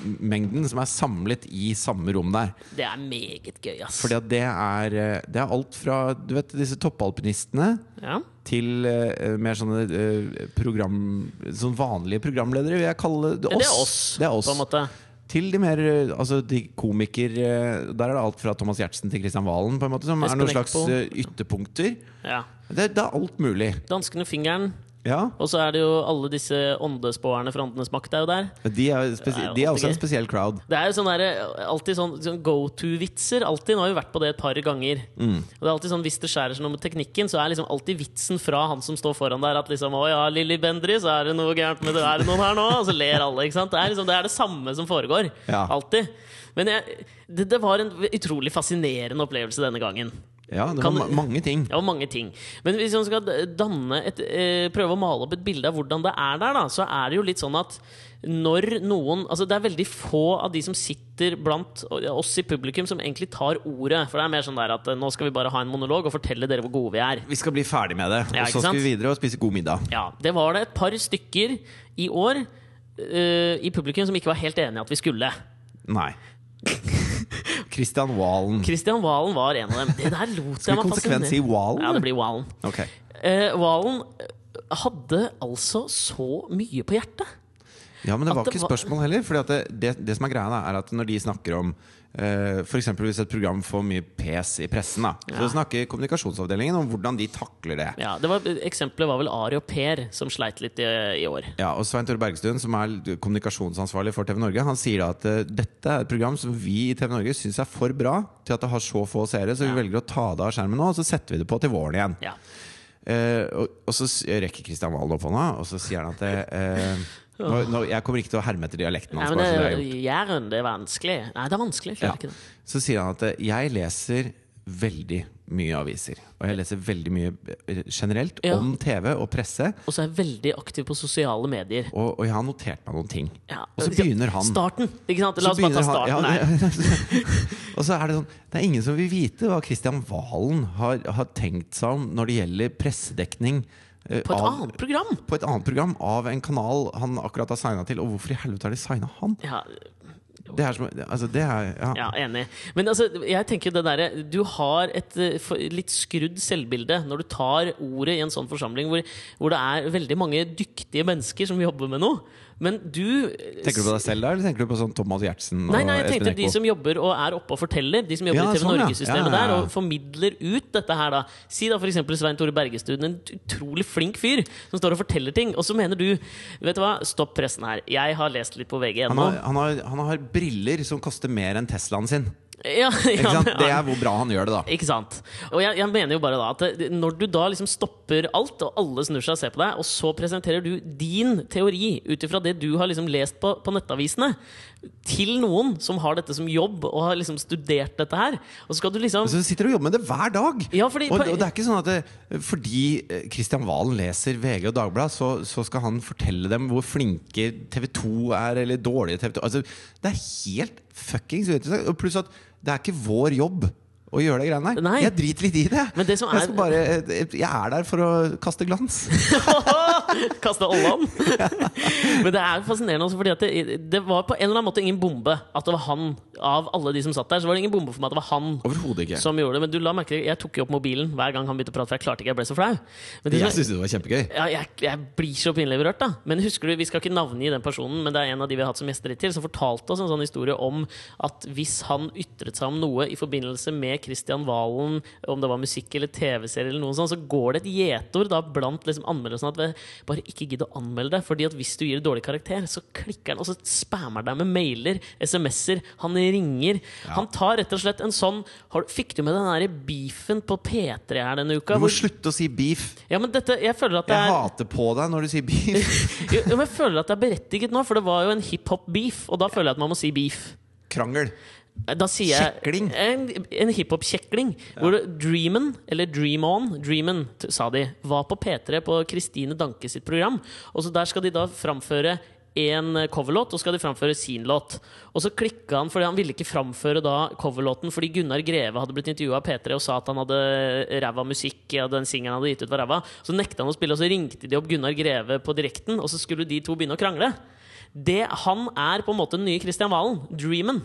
[SPEAKER 1] menneskemengden som er samlet i samme rom der.
[SPEAKER 2] Det er meget gøy, ass.
[SPEAKER 1] Fordi at det er, eh, det er alt fra du vet, disse toppalpinistene
[SPEAKER 2] Ja.
[SPEAKER 1] til eh, mer sånne eh, program, sånn vanlige programledere, vil jeg kalle det.
[SPEAKER 2] Det er oss,
[SPEAKER 1] Det er oss.
[SPEAKER 2] på en måte.
[SPEAKER 1] Til de mer eh, altså de komiker eh, Der er det alt fra Thomas Giertsen til Kristian Valen, på en måte, som er
[SPEAKER 2] Espen
[SPEAKER 1] noen slags
[SPEAKER 2] Eckbo.
[SPEAKER 1] eh, ytterpunkter.
[SPEAKER 2] Ja.
[SPEAKER 1] Det, det er alt mulig.
[SPEAKER 2] Danskene fingeren.
[SPEAKER 1] Ja.
[SPEAKER 2] Og så er det jo alle disse åndespåerne fra Åndenes makt er jo der.
[SPEAKER 1] De er, eh,
[SPEAKER 2] Det er jo
[SPEAKER 1] spesi- de er også en
[SPEAKER 2] alltid
[SPEAKER 1] spesiell crowd.
[SPEAKER 2] Det er jo sånn der, alltid sånn, sånn go to-vitser. Alltid, Nå har vi vært på det et par ganger.
[SPEAKER 1] Mm.
[SPEAKER 2] Og det er alltid sånn, Hvis det skjærer seg noe med teknikken, så er liksom alltid vitsen fra han som står foran der, at liksom 'Å ja, Lilly Bendriss, er det noe gærent med det? Er det noen her nå?' Og så ler alle. ikke sant? Det er liksom, det er det samme som foregår.
[SPEAKER 1] Ja.
[SPEAKER 2] Alltid. Men jeg, det, det var en utrolig fascinerende opplevelse denne gangen.
[SPEAKER 1] Ja, det
[SPEAKER 2] Kan-
[SPEAKER 1] var ma mange ting.
[SPEAKER 2] Det var mange ting. Men hvis man skal danne et, eh, prøve å male opp et bilde av hvordan det er der, da, så er det jo litt sånn at når noen Altså det er veldig få av de som sitter blant oss i publikum, som egentlig tar ordet. For det er mer sånn der at eh, nå skal vi bare ha en monolog og fortelle dere hvor gode vi er.
[SPEAKER 1] Vi skal bli ferdig med det,
[SPEAKER 2] Ja,
[SPEAKER 1] og
[SPEAKER 2] ikke
[SPEAKER 1] så
[SPEAKER 2] sant?
[SPEAKER 1] skal vi videre og spise god middag.
[SPEAKER 2] Ja, Det var det et par stykker i år eh, i publikum som ikke var helt enige i at vi skulle.
[SPEAKER 1] Nei. Christian Valen.
[SPEAKER 2] Christian Valen var en av dem. Det der lot jeg
[SPEAKER 1] Skal vi
[SPEAKER 2] meg
[SPEAKER 1] konsekvent si
[SPEAKER 2] fascinere.
[SPEAKER 1] Valen?
[SPEAKER 2] Ja, det blir Valen.
[SPEAKER 1] Ok.
[SPEAKER 2] Eh, Valen hadde altså så mye på hjertet.
[SPEAKER 1] Ja, men det
[SPEAKER 2] At
[SPEAKER 1] var
[SPEAKER 2] det
[SPEAKER 1] ikke
[SPEAKER 2] var-
[SPEAKER 1] spørsmål heller. Fordi at det, det, det som er greia da, er at Når de snakker om eh, For f.eks. hvis et program får mye pes i pressen, da,
[SPEAKER 2] Ja.
[SPEAKER 1] så snakker kommunikasjonsavdelingen om hvordan de takler det.
[SPEAKER 2] Ja, det var, Eksempelet var vel Ari og Per som sleit litt i, i år.
[SPEAKER 1] Ja, og Svein Tore Bergstuen, som er kommunikasjonsansvarlig for TV Norge, han sier da at eh, dette er et program som vi i TV Norge syns er for bra til at det har så få seere, så vi velger å ta det av skjermen nå, og så setter vi det på til våren igjen.
[SPEAKER 2] Ja.
[SPEAKER 1] Eh, og, og så s- rekker Kristian Valen opp hånda, og så sier han at det, eh, nå, nå, Jeg kommer ikke til å herme etter dialekten
[SPEAKER 2] Nei,
[SPEAKER 1] hans.
[SPEAKER 2] men
[SPEAKER 1] bare
[SPEAKER 2] det,
[SPEAKER 1] så det er gjort.
[SPEAKER 2] Jæren, det er vanskelig. Nei, det er vanskelig. Jeg
[SPEAKER 1] Ja.
[SPEAKER 2] klarer ikke det.
[SPEAKER 1] Så sier han at eh, jeg leser veldig mye aviser. Og jeg leser veldig mye eh, generelt
[SPEAKER 2] Ja.
[SPEAKER 1] om TV og presse.
[SPEAKER 2] Og så er jeg veldig aktiv på sosiale medier.
[SPEAKER 1] Og, og jeg har notert meg noen ting.
[SPEAKER 2] Ja.
[SPEAKER 1] Og så begynner han.
[SPEAKER 2] Starten! ikke sant? La
[SPEAKER 1] Så
[SPEAKER 2] oss bare ta
[SPEAKER 1] begynner
[SPEAKER 2] starten
[SPEAKER 1] han-
[SPEAKER 2] her.
[SPEAKER 1] ja, og så er det sånn Det er ingen som vil vite hva Kristian Valen har, har tenkt seg om når det gjelder pressedekning eh,
[SPEAKER 2] På et
[SPEAKER 1] av,
[SPEAKER 2] annet program!
[SPEAKER 1] på et annet program av en kanal han akkurat har signa til. Og hvorfor i helvete har de signa han?
[SPEAKER 2] Ja,
[SPEAKER 1] Det er som, altså det er, ja.
[SPEAKER 2] ja, enig. Men altså, jeg tenker jo det derre Du har et eh, for- litt skrudd selvbilde når du tar ordet i en sånn forsamling hvor, hvor det er veldig mange dyktige mennesker som jobber med noe. Men du
[SPEAKER 1] Tenker du på deg selv da, eller tenker du på sånn Thomas Giertsen?
[SPEAKER 2] Nei,
[SPEAKER 1] og
[SPEAKER 2] nei, jeg
[SPEAKER 1] Espen
[SPEAKER 2] tenkte de
[SPEAKER 1] Eckbo?
[SPEAKER 2] som jobber og er oppe og forteller. De som jobber
[SPEAKER 1] Ja,
[SPEAKER 2] i TV
[SPEAKER 1] sånn, ja.
[SPEAKER 2] Norge-systemet
[SPEAKER 1] Ja, ja, ja.
[SPEAKER 2] der og formidler ut dette her, da. Si da f.eks. Svein Tore Bergestuen, en utrolig flink fyr som står og forteller ting. Og så mener du Vet du hva, stopp pressen her. Jeg har lest litt på
[SPEAKER 1] han
[SPEAKER 2] vg.no.
[SPEAKER 1] har, han, har, han har briller som koster mer enn Teslaen sin.
[SPEAKER 2] Ja,
[SPEAKER 1] Ikke
[SPEAKER 2] ja,
[SPEAKER 1] sant? Det er hvor bra han gjør det, da.
[SPEAKER 2] Ikke sant? Og jeg, jeg mener jo bare da at det- når du da liksom stopper alt, og alle snur seg og ser på deg, og så presenterer du din teori ut ifra det du har liksom lest på, på nettavisene, til noen som har dette som jobb og har liksom studert dette her, og så skal du liksom
[SPEAKER 1] Så du sitter og jobber med det hver dag!
[SPEAKER 2] Ja, fordi-
[SPEAKER 1] og, og det er ikke sånn at det, fordi eh, Kristian Valen leser VG og Dagbladet, så, så skal han fortelle dem hvor flinke TV 2 er, eller dårlige TV 2 altså, Det er helt fuckings uinteressant. Og Pluss at det er ikke vår jobb å gjøre de greiene der.
[SPEAKER 2] Nei.
[SPEAKER 1] Jeg driter litt i det.
[SPEAKER 2] Men det som er-
[SPEAKER 1] jeg, skal bare, jeg er der for å kaste glans.
[SPEAKER 2] Kasta ollan. Men det er fascinerende også fordi at det, det var på en eller annen måte ingen bombe at det var han. Av alle de som satt der, så var det ingen bombe for meg at det var han.
[SPEAKER 1] Overhodet ikke.
[SPEAKER 2] Som gjorde det, men du la merke til Jeg tok jo opp mobilen hver gang han begynte å prate, for jeg klarte ikke, jeg ble så flau. Men det som
[SPEAKER 1] Jeg
[SPEAKER 2] er-
[SPEAKER 1] syns det var kjempegøy.
[SPEAKER 2] ja, jeg, jeg blir så pinlig berørt, da. Men husker du, Vi skal ikke navngi den personen, men det er en av de vi har hatt som gjester hittil, som fortalte oss en sånn historie om at hvis han ytret seg om noe i forbindelse med Kristian Valen, om det var musikk eller TV-serie, eller noe sånt, så går det et gjetord da blant liksom anmeldelsene at vi bare ikke gidd å anmelde det. fordi at hvis du gir det dårlig karakter, så klikker han og så spammer deg med mailer, SMS-er, han ringer. Han tar rett og slett en sånn har, du- Fikk du med den der beefen på P3 her denne uka?
[SPEAKER 1] Du må
[SPEAKER 2] hvor-
[SPEAKER 1] slutte å si beef.
[SPEAKER 2] ja, men dette, jeg føler at det
[SPEAKER 1] Jeg
[SPEAKER 2] er
[SPEAKER 1] hater på deg når du sier beef.
[SPEAKER 2] jo, jo, men jeg føler at det er berettiget nå, for det var jo en hiphop-beef. Og da føler jeg at man må si beef.
[SPEAKER 1] Krangel.
[SPEAKER 2] Da sier jeg
[SPEAKER 1] Kjekling.
[SPEAKER 2] En, en hiphop-kjekling. Hvor det- Dreamen, eller Dream On, Dreamen, t- sa de, var på P3 på Kristine Danke sitt program. Og så der skal de da framføre en eh, coverlåt, og skal de framføre sin låt. Og så klikka han, fordi han ville ikke framføre da coverlåten fordi Gunnar Greve hadde blitt intervjua av P3 og sa at han hadde ræva musikk, og den singelen han hadde gitt ut, var ræva. Så nekta han å spille, og så ringte de opp Gunnar Greve på direkten, og så skulle de to begynne å krangle. Det, han er på en måte den nye Kristian Valen. Dreamen.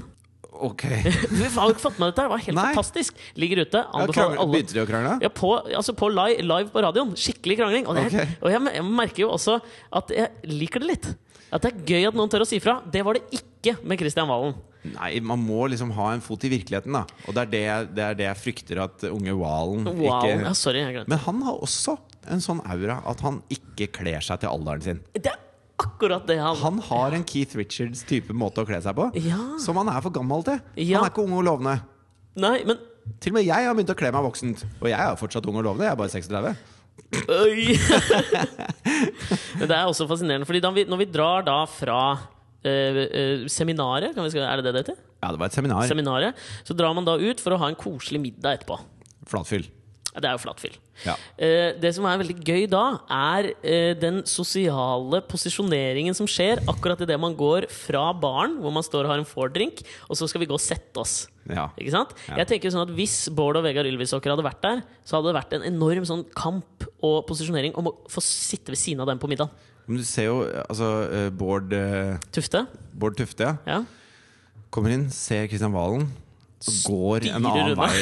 [SPEAKER 1] Ok.
[SPEAKER 2] Vi har jo ikke fått med dette. her, Det var helt
[SPEAKER 1] Nei.
[SPEAKER 2] fantastisk. Ligger ute.
[SPEAKER 1] Ja,
[SPEAKER 2] Anbefaler
[SPEAKER 1] krangel.
[SPEAKER 2] alle.
[SPEAKER 1] Begynte de å krangle?
[SPEAKER 2] Ja, på, altså på live, live på radioen. Skikkelig krangling. Og, det, er-
[SPEAKER 1] Ok.
[SPEAKER 2] og jeg, jeg merker jo også at jeg liker det litt. At det er gøy at noen tør å si fra. Det var det ikke med Kristian Valen.
[SPEAKER 1] Nei, man må liksom ha en fot i virkeligheten, da. Og det er det, jeg- det, er det jeg frykter at unge Valen
[SPEAKER 2] Wow. Ja,
[SPEAKER 1] ikke
[SPEAKER 2] sorry, jeg glemte.
[SPEAKER 1] Men han har også en sånn aura at han ikke kler seg til alderen sin.
[SPEAKER 2] Det er akkurat det han
[SPEAKER 1] Han har en Keith Richards type måte å kle seg på
[SPEAKER 2] Ja.
[SPEAKER 1] som han er for gammel til.
[SPEAKER 2] Ja.
[SPEAKER 1] Han er ikke ung og lovende.
[SPEAKER 2] Nei, men
[SPEAKER 1] Til og med jeg har begynt å kle meg voksent. Og jeg er fortsatt ung og lovende. Jeg er bare 36.
[SPEAKER 2] Øy. Men det er også fascinerende, Fordi da vi, når vi drar da fra eh, eh, seminaret kan vi, skal- Er det det det heter?
[SPEAKER 1] Ja, det var et seminar.
[SPEAKER 2] Seminaret. Så drar man da ut for å ha en koselig middag etterpå.
[SPEAKER 1] Flatfyll.
[SPEAKER 2] Det er jo flatfyll.
[SPEAKER 1] Ja.
[SPEAKER 2] Eh, Det som er veldig gøy da, er eh, den sosiale posisjoneringen som skjer akkurat idet man går fra baren, hvor man står og har en Ford-drink, og så skal vi gå og sette oss.
[SPEAKER 1] ja.
[SPEAKER 2] Ikke sant?
[SPEAKER 1] Ja.
[SPEAKER 2] Jeg tenker jo sånn at Hvis Bård og Vegard Ylvisåker hadde vært der, så hadde det vært en enorm sånn kamp og posisjonering om å få sitte ved siden av dem på middag.
[SPEAKER 1] Men du ser jo altså, eh, Bård, eh,
[SPEAKER 2] Tufte?
[SPEAKER 1] Bård Tufte ja.
[SPEAKER 2] Ja.
[SPEAKER 1] kommer inn, ser Kristian Valen. og Går en
[SPEAKER 2] Styrer
[SPEAKER 1] annen
[SPEAKER 2] unna.
[SPEAKER 1] vei.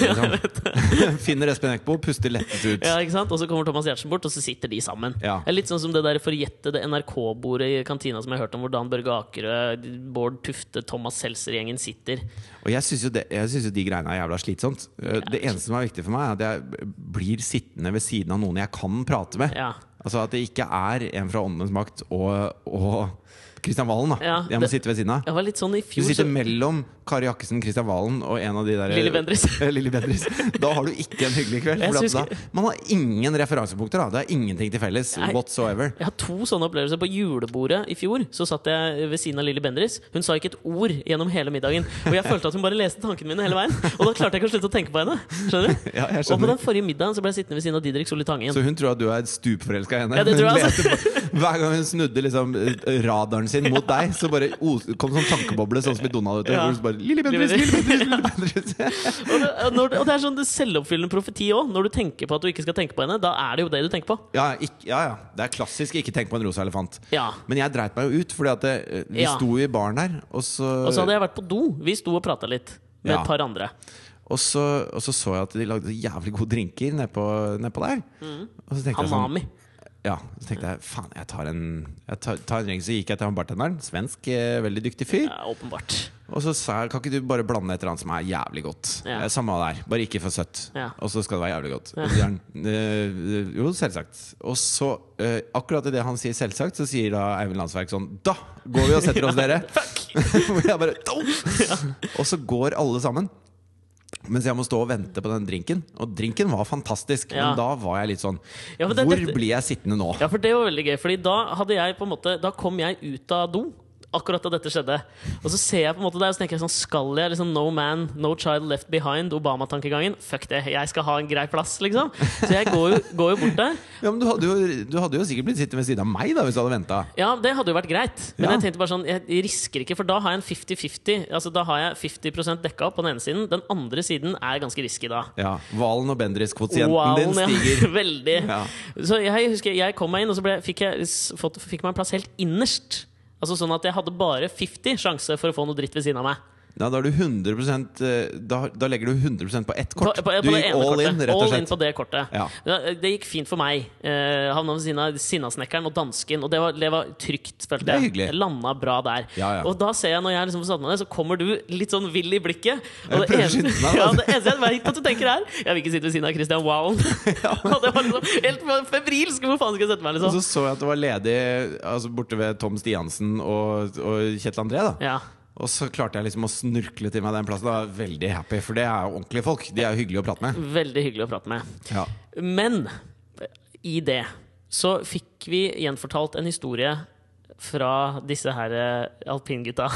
[SPEAKER 1] Liksom. Finner Espen Eckbo, puster lettet ut.
[SPEAKER 2] Ja, ikke sant? Og så kommer Thomas Giertsen bort, og så sitter de sammen.
[SPEAKER 1] Ja.
[SPEAKER 2] Det er Litt sånn som det der forjettede NRK-bordet i kantina som jeg hørte om, hvor Dan Børge Akerø, Bård Tufte, Thomas Seltzer-gjengen sitter.
[SPEAKER 1] Og jeg syns jo, det- jeg synes jo de greiene er jævla slitsomt. Eh, Det eneste som er viktig for meg, er at jeg blir sittende ved siden av noen jeg kan prate med.
[SPEAKER 2] Ja.
[SPEAKER 1] Altså At det ikke er en fra Åndenes makt og, og Kristian Valen. da
[SPEAKER 2] Ja,
[SPEAKER 1] Jeg må
[SPEAKER 2] det-
[SPEAKER 1] sitte ved siden av.
[SPEAKER 2] Jeg var litt sånn i
[SPEAKER 1] Du
[SPEAKER 2] fjor
[SPEAKER 1] sitter
[SPEAKER 2] så-
[SPEAKER 1] mellom Kari Jakkesen, Kristian Valen og en av de der
[SPEAKER 2] Lilly Bendriss.
[SPEAKER 1] Lilly Bendriss. Da har du ikke en hyggelig kveld.
[SPEAKER 2] Jeg
[SPEAKER 1] fordi at
[SPEAKER 2] synes-
[SPEAKER 1] da, man har ingen referansepunkter. da Det er ingenting til felles
[SPEAKER 2] Nei.
[SPEAKER 1] whatsoever.
[SPEAKER 2] Jeg har to sånne opplevelser. På julebordet i fjor Så satt jeg ved siden av Lilly Bendriss. Hun sa ikke et ord gjennom hele middagen. Og jeg følte at hun bare leste tankene mine hele veien. Og da klarte jeg ikke å slutte å tenke på henne. Skjønner du?
[SPEAKER 1] Ja, jeg
[SPEAKER 2] Og på
[SPEAKER 1] skjønner
[SPEAKER 2] den forrige middagen så ble jeg sittende ved siden av Didrik Solli Tangen.
[SPEAKER 1] Så hun tror at du er stupforelska i henne.
[SPEAKER 2] Ja, det tror
[SPEAKER 1] Hun
[SPEAKER 2] jeg,
[SPEAKER 1] leter på- Hver gang hun snudde liksom eh, radaren sin mot deg, så bare os- kom sånn tankeboble, sånn som i Donald.
[SPEAKER 2] Ja.
[SPEAKER 1] Ja. Hvor du bare, Lille Bendriss,
[SPEAKER 2] Lille
[SPEAKER 1] Lille Bendriss, Lille Bendriss.
[SPEAKER 2] Og det, og når, og det er sånn det selvoppfyllende profeti òg. Når du tenker på at du ikke skal tenke på henne, da er det jo det du tenker på.
[SPEAKER 1] Ja, ikk- ja, ja. Det er klassisk 'ikke tenk på en rosa elefant'.
[SPEAKER 2] Ja.
[SPEAKER 1] Men jeg dreit meg jo ut, Fordi at det, eh, vi
[SPEAKER 2] Ja.
[SPEAKER 1] sto jo i baren her, og så,
[SPEAKER 2] Og så hadde jeg vært på do. Vi sto og prata litt med
[SPEAKER 1] Ja.
[SPEAKER 2] et par andre.
[SPEAKER 1] og, så, og så så jeg at de lagde så jævlig gode drinker nedpå ned på der.
[SPEAKER 2] Mm.
[SPEAKER 1] Og så tenkte jeg sånn
[SPEAKER 2] Hanami.
[SPEAKER 1] Ja, så tenkte jeg faen, jeg tar en Jeg tar, tar en drink, så gikk jeg til han bartenderen. Svensk, eh, veldig dyktig fyr.
[SPEAKER 2] Ja, åpenbart.
[SPEAKER 1] Og så sa jeg kan ikke du bare blande et eller annet som er jævlig godt.
[SPEAKER 2] Ja.
[SPEAKER 1] Eh, Samme hva det er, bare ikke for søtt.
[SPEAKER 2] Ja.
[SPEAKER 1] Og så skal det være jævlig godt. Og så sier han eh, jo, selvsagt. Og så, eh, akkurat idet han sier selvsagt, så sier da Eivind Landsverk sånn Da går vi og setter oss, dere! Hvor jeg bare «Dom!» Og så går alle sammen. Mens jeg må stå og vente på den drinken. Og drinken var fantastisk,
[SPEAKER 2] Ja.
[SPEAKER 1] men da var jeg litt sånn
[SPEAKER 2] Ja, men det-
[SPEAKER 1] Hvor
[SPEAKER 2] dette-
[SPEAKER 1] blir jeg sittende nå?
[SPEAKER 2] Ja, for det var veldig gøy. Fordi da hadde jeg på en måte Da kom jeg ut av do. Akkurat da dette skjedde. Og så ser jeg på en måte der og så tenker jeg sånn Skal jeg liksom No man, no child left behind, Obama-tankegangen? Fuck det, jeg skal ha en grei plass, liksom. Så jeg går jo, går jo bort der.
[SPEAKER 1] Ja, men du hadde, jo, du hadde jo sikkert blitt sittende ved siden av meg da hvis du hadde venta.
[SPEAKER 2] Ja, det hadde jo vært greit. Men
[SPEAKER 1] Ja.
[SPEAKER 2] jeg tenkte bare sånn, jeg risker ikke, for da har jeg en 50-50. Altså, da har jeg 50 dekka opp på den ene siden. Den andre siden er ganske risky da.
[SPEAKER 1] Ja, Valen og Bendriss-kvotienten din
[SPEAKER 2] Wow,
[SPEAKER 1] stiger.
[SPEAKER 2] ja, veldig.
[SPEAKER 1] Ja.
[SPEAKER 2] Så jeg husker jeg kom meg inn, og så ble, fikk jeg s- fått, fikk meg en plass helt innerst. Altså Sånn at jeg hadde bare 50 sjanse for å få noe dritt ved siden av meg.
[SPEAKER 1] Ja, da, er du 100%, eh, da, da legger du 100 på ett kort.
[SPEAKER 2] På- på-
[SPEAKER 1] du
[SPEAKER 2] på det
[SPEAKER 1] gikk
[SPEAKER 2] ene
[SPEAKER 1] all
[SPEAKER 2] kortet.
[SPEAKER 1] in, rett og
[SPEAKER 2] All in
[SPEAKER 1] slett.
[SPEAKER 2] på det kortet.
[SPEAKER 1] Ja.
[SPEAKER 2] Men Det gikk fint for meg. Eh, havna ved siden av Sinnasnekkeren og dansken, og det var, det var trygt, følte
[SPEAKER 1] Det er
[SPEAKER 2] jeg.
[SPEAKER 1] hyggelig.
[SPEAKER 2] Jeg Landa bra der.
[SPEAKER 1] Ja, ja.
[SPEAKER 2] Og da ser jeg, når jeg liksom får satt meg ned, så kommer du litt sånn vill i
[SPEAKER 1] Jeg
[SPEAKER 2] blikket. Og det
[SPEAKER 1] prøver å
[SPEAKER 2] eneste,
[SPEAKER 1] skynde meg, altså. da.
[SPEAKER 2] ja, det eneste jeg vet at du tenker, er Jeg vil ikke sitte ved siden av Christian Wown. og det var liksom helt febrilsk! Hvor faen skal jeg sette meg,
[SPEAKER 1] Og
[SPEAKER 2] liksom?
[SPEAKER 1] så så jeg at det var ledig altså, borte ved Tom Stiansen og, og Kjetil André. Da.
[SPEAKER 2] Ja.
[SPEAKER 1] Og så klarte jeg liksom å snurkle til meg den plassen. Da var jeg veldig happy, for det er jo ordentlige folk. De er jo hyggelige å prate med.
[SPEAKER 2] Veldig hyggelig å prate med.
[SPEAKER 1] Ja.
[SPEAKER 2] Men i det så fikk vi gjenfortalt en historie fra disse her eh, alpingutta.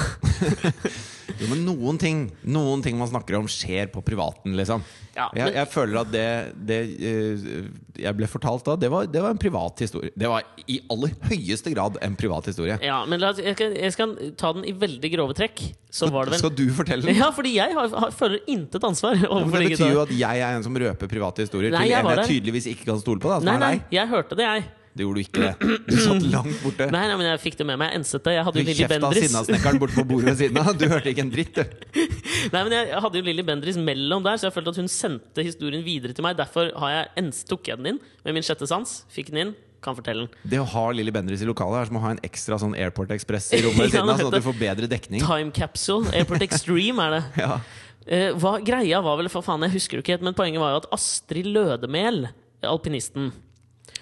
[SPEAKER 1] Jo, men noen ting, noen ting man snakker om, skjer på privaten, liksom.
[SPEAKER 2] Ja,
[SPEAKER 1] jeg,
[SPEAKER 2] men-
[SPEAKER 1] jeg føler at det, det eh, jeg ble fortalt da, det var, det var en privat historie. Det var i aller høyeste grad en privat historie.
[SPEAKER 2] Ja, men la, oss- jeg, skal, jeg skal ta den i veldig grove trekk. Så var det vel
[SPEAKER 1] Skal du fortelle den?
[SPEAKER 2] Ja, fordi jeg har, har, føler intet ansvar
[SPEAKER 1] Men
[SPEAKER 2] overfor
[SPEAKER 1] det
[SPEAKER 2] de
[SPEAKER 1] betyr jo
[SPEAKER 2] gutta.
[SPEAKER 1] at jeg er en som røper private historier
[SPEAKER 2] Nei,
[SPEAKER 1] til
[SPEAKER 2] jeg
[SPEAKER 1] en
[SPEAKER 2] var
[SPEAKER 1] jeg
[SPEAKER 2] der.
[SPEAKER 1] tydeligvis ikke kan stole på. Da, som
[SPEAKER 2] Nei,
[SPEAKER 1] er
[SPEAKER 2] nei,
[SPEAKER 1] deg.
[SPEAKER 2] jeg hørte det, jeg.
[SPEAKER 1] Det gjorde du ikke. det Du satt langt borte.
[SPEAKER 2] Nei, nei, men jeg fikk det med meg. Jeg enset det. Jeg hadde
[SPEAKER 1] Du
[SPEAKER 2] jo Lilly
[SPEAKER 1] kjefta
[SPEAKER 2] Bendriss.
[SPEAKER 1] sinnasnekkeren borte på bordet ved siden av. Du hørte ikke en dritt, du.
[SPEAKER 2] Nei, men jeg hadde jo Lilly Bendriss mellom der, så jeg følte at hun sendte historien videre til meg. Derfor har jeg ens, tok jeg den inn med min sjette sans. Fikk den inn, kan fortelle den.
[SPEAKER 1] Det å ha Lilly Bendriss i lokalet er som å ha en ekstra sånn Airport Express i rommet ved
[SPEAKER 2] Ja,
[SPEAKER 1] siden av, sånn at
[SPEAKER 2] nettopp.
[SPEAKER 1] du får bedre dekning.
[SPEAKER 2] Time Capsule. Airport Extreme er det.
[SPEAKER 1] Ja.
[SPEAKER 2] Eh, hva, greia var vel, for faen, jeg husker det ikke helt, men poenget var jo at Astrid Lødemel, alpinisten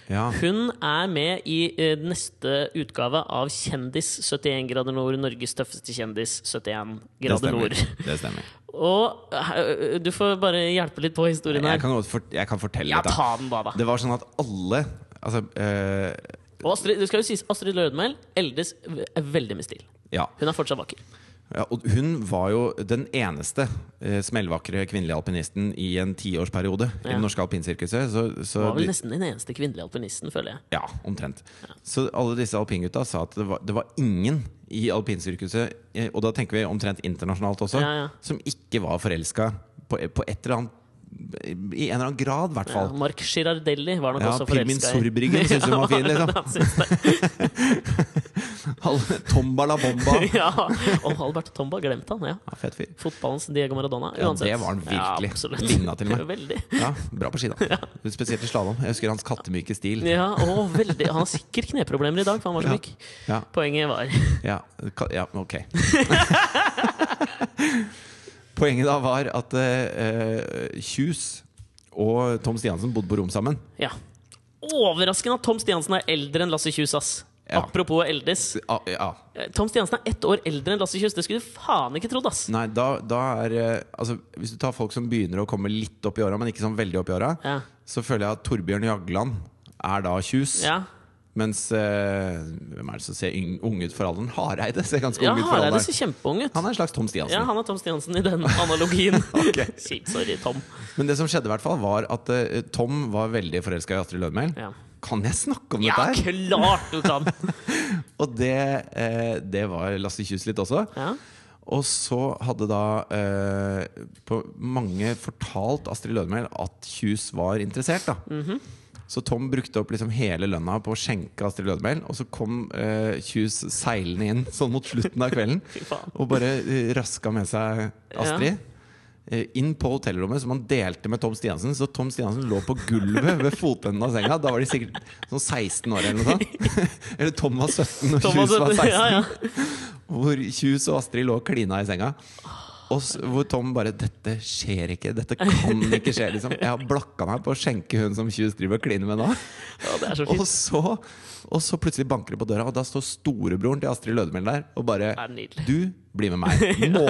[SPEAKER 1] Ja.
[SPEAKER 2] Hun er med i eh, neste utgave av Kjendis 71 grader nord, Norges tøffeste kjendis 71
[SPEAKER 1] Det
[SPEAKER 2] grader
[SPEAKER 1] stemmer.
[SPEAKER 2] nord.
[SPEAKER 1] Det stemmer.
[SPEAKER 2] Og eh, du får bare hjelpe litt på historien
[SPEAKER 1] Jeg
[SPEAKER 2] her.
[SPEAKER 1] kan, godt fort- jeg kan fortelle
[SPEAKER 2] Ja,
[SPEAKER 1] litt. da.
[SPEAKER 2] ta den da, da.
[SPEAKER 1] Det var sånn at alle Altså eh,
[SPEAKER 2] Og Astrid, det skal jo sies, Astrid Lødemel eldes v- veldig med stil.
[SPEAKER 1] Ja.
[SPEAKER 2] Hun er fortsatt vakker.
[SPEAKER 1] Ja, og hun var jo den eneste eh, smellvakre kvinnelige alpinisten i en tiårsperiode i
[SPEAKER 2] Ja.
[SPEAKER 1] det norske alpinsirkuset. Så, så
[SPEAKER 2] Var vel nesten den eneste kvinnelige alpinisten, føler jeg.
[SPEAKER 1] Ja, omtrent. Så alle disse alpingutta sa at det var, det var ingen i alpinsirkuset, eh, og da tenker vi omtrent internasjonalt også,
[SPEAKER 2] Ja, ja.
[SPEAKER 1] som ikke var forelska på, på et eller annet I en eller annen grad, i hvert
[SPEAKER 2] Ja,
[SPEAKER 1] fall.
[SPEAKER 2] Mark Girardelli var nok
[SPEAKER 1] Ja,
[SPEAKER 2] også
[SPEAKER 1] Pirmin
[SPEAKER 2] forelska
[SPEAKER 1] Sorbryggen synes hun var fin, liksom.
[SPEAKER 2] han synes det.
[SPEAKER 1] Alle- Tombala bomba.
[SPEAKER 2] ja. Og Albert Tomba, glemte han, ja.
[SPEAKER 1] Ja, fett fyr.
[SPEAKER 2] Fotballens Diego Maradona.
[SPEAKER 1] Ja,
[SPEAKER 2] Uansett.
[SPEAKER 1] det var han virkelig.
[SPEAKER 2] Ja, absolutt.
[SPEAKER 1] Lignet til meg.
[SPEAKER 2] Veldig.
[SPEAKER 1] Ja, bra på ski, da. Spesielt i slalåm. Jeg husker hans kattemyke stil.
[SPEAKER 2] Ja, å, veldig. Han har sikkert kneproblemer i dag, for han var så
[SPEAKER 1] Ja.
[SPEAKER 2] myk.
[SPEAKER 1] Ja,
[SPEAKER 2] Poenget var
[SPEAKER 1] ja, ka- ja ok. Poenget da var at eh, eh, Kjus og Tom Stiansen bodde på rom sammen.
[SPEAKER 2] Ja. Overraskende at Tom Stiansen er eldre enn Lasse Kjus, ass.
[SPEAKER 1] Ja.
[SPEAKER 2] Apropos eldes.
[SPEAKER 1] Ja, ja.
[SPEAKER 2] Eh, Tom Stiansen er ett år eldre enn Lasse Kjus. Det skulle du faen ikke trodd, ass.
[SPEAKER 1] Nei, da, da er eh, altså, Hvis du tar folk som begynner å komme litt opp i åra, men ikke sånn veldig opp i åra,
[SPEAKER 2] Ja.
[SPEAKER 1] så føler jeg at Torbjørn Jagland er da Kjus.
[SPEAKER 2] Ja,
[SPEAKER 1] Mens eh, hvem er det som ser yng- ung ut for alderen? Hareide ser ganske
[SPEAKER 2] ja
[SPEAKER 1] ung ut for
[SPEAKER 2] Hareide
[SPEAKER 1] alderen.
[SPEAKER 2] ser kjempeung ut.
[SPEAKER 1] Han er en slags Tom Stiansen.
[SPEAKER 2] Ja, han er Tom Stiansen i den analogien.
[SPEAKER 1] Ok.
[SPEAKER 2] Shit, sorry, Tom.
[SPEAKER 1] Men det som skjedde, i hvert fall var at eh, Tom var veldig forelska i Astrid Lødmel.
[SPEAKER 2] Ja.
[SPEAKER 1] Kan jeg snakke om
[SPEAKER 2] Ja,
[SPEAKER 1] dette her?
[SPEAKER 2] klart du kan!
[SPEAKER 1] Og det, eh, det var Lasse Kjus litt også.
[SPEAKER 2] Ja.
[SPEAKER 1] Og så hadde da eh, på mange fortalt Astrid Lødemel at Kjus var interessert. da
[SPEAKER 2] Mhm.
[SPEAKER 1] Så Tom brukte opp liksom hele lønna på å skjenke Astrid Lødemel. Og så kom eh, Kjus seilende inn sånn mot slutten av kvelden
[SPEAKER 2] Fy faen.
[SPEAKER 1] og bare eh, raska med seg Astrid. eh, Inn på hotellrommet, som han delte med Tom Stiansen. Så Tom Stiansen lå på gulvet ved fotenden av senga. Da var de sikkert sånn 16 år eller noe sånt. Eller Tom var 17 og
[SPEAKER 2] Tom
[SPEAKER 1] Kjus var 16.
[SPEAKER 2] Ja, ja.
[SPEAKER 1] Hvor Kjus og Astrid lå og klina i senga. Og s- hvor Tom bare 'Dette skjer ikke. Dette kan ikke skje.' Liksom. Jeg har blakka meg på å skjenke hun som Kjus driver og kliner med nå.
[SPEAKER 2] ja, det er så
[SPEAKER 1] Og
[SPEAKER 2] fint.
[SPEAKER 1] så, og så plutselig banker det på døra, og da står storebroren til Astrid Lødemel der og bare
[SPEAKER 2] er nydelig.
[SPEAKER 1] 'Du blir med meg nå.'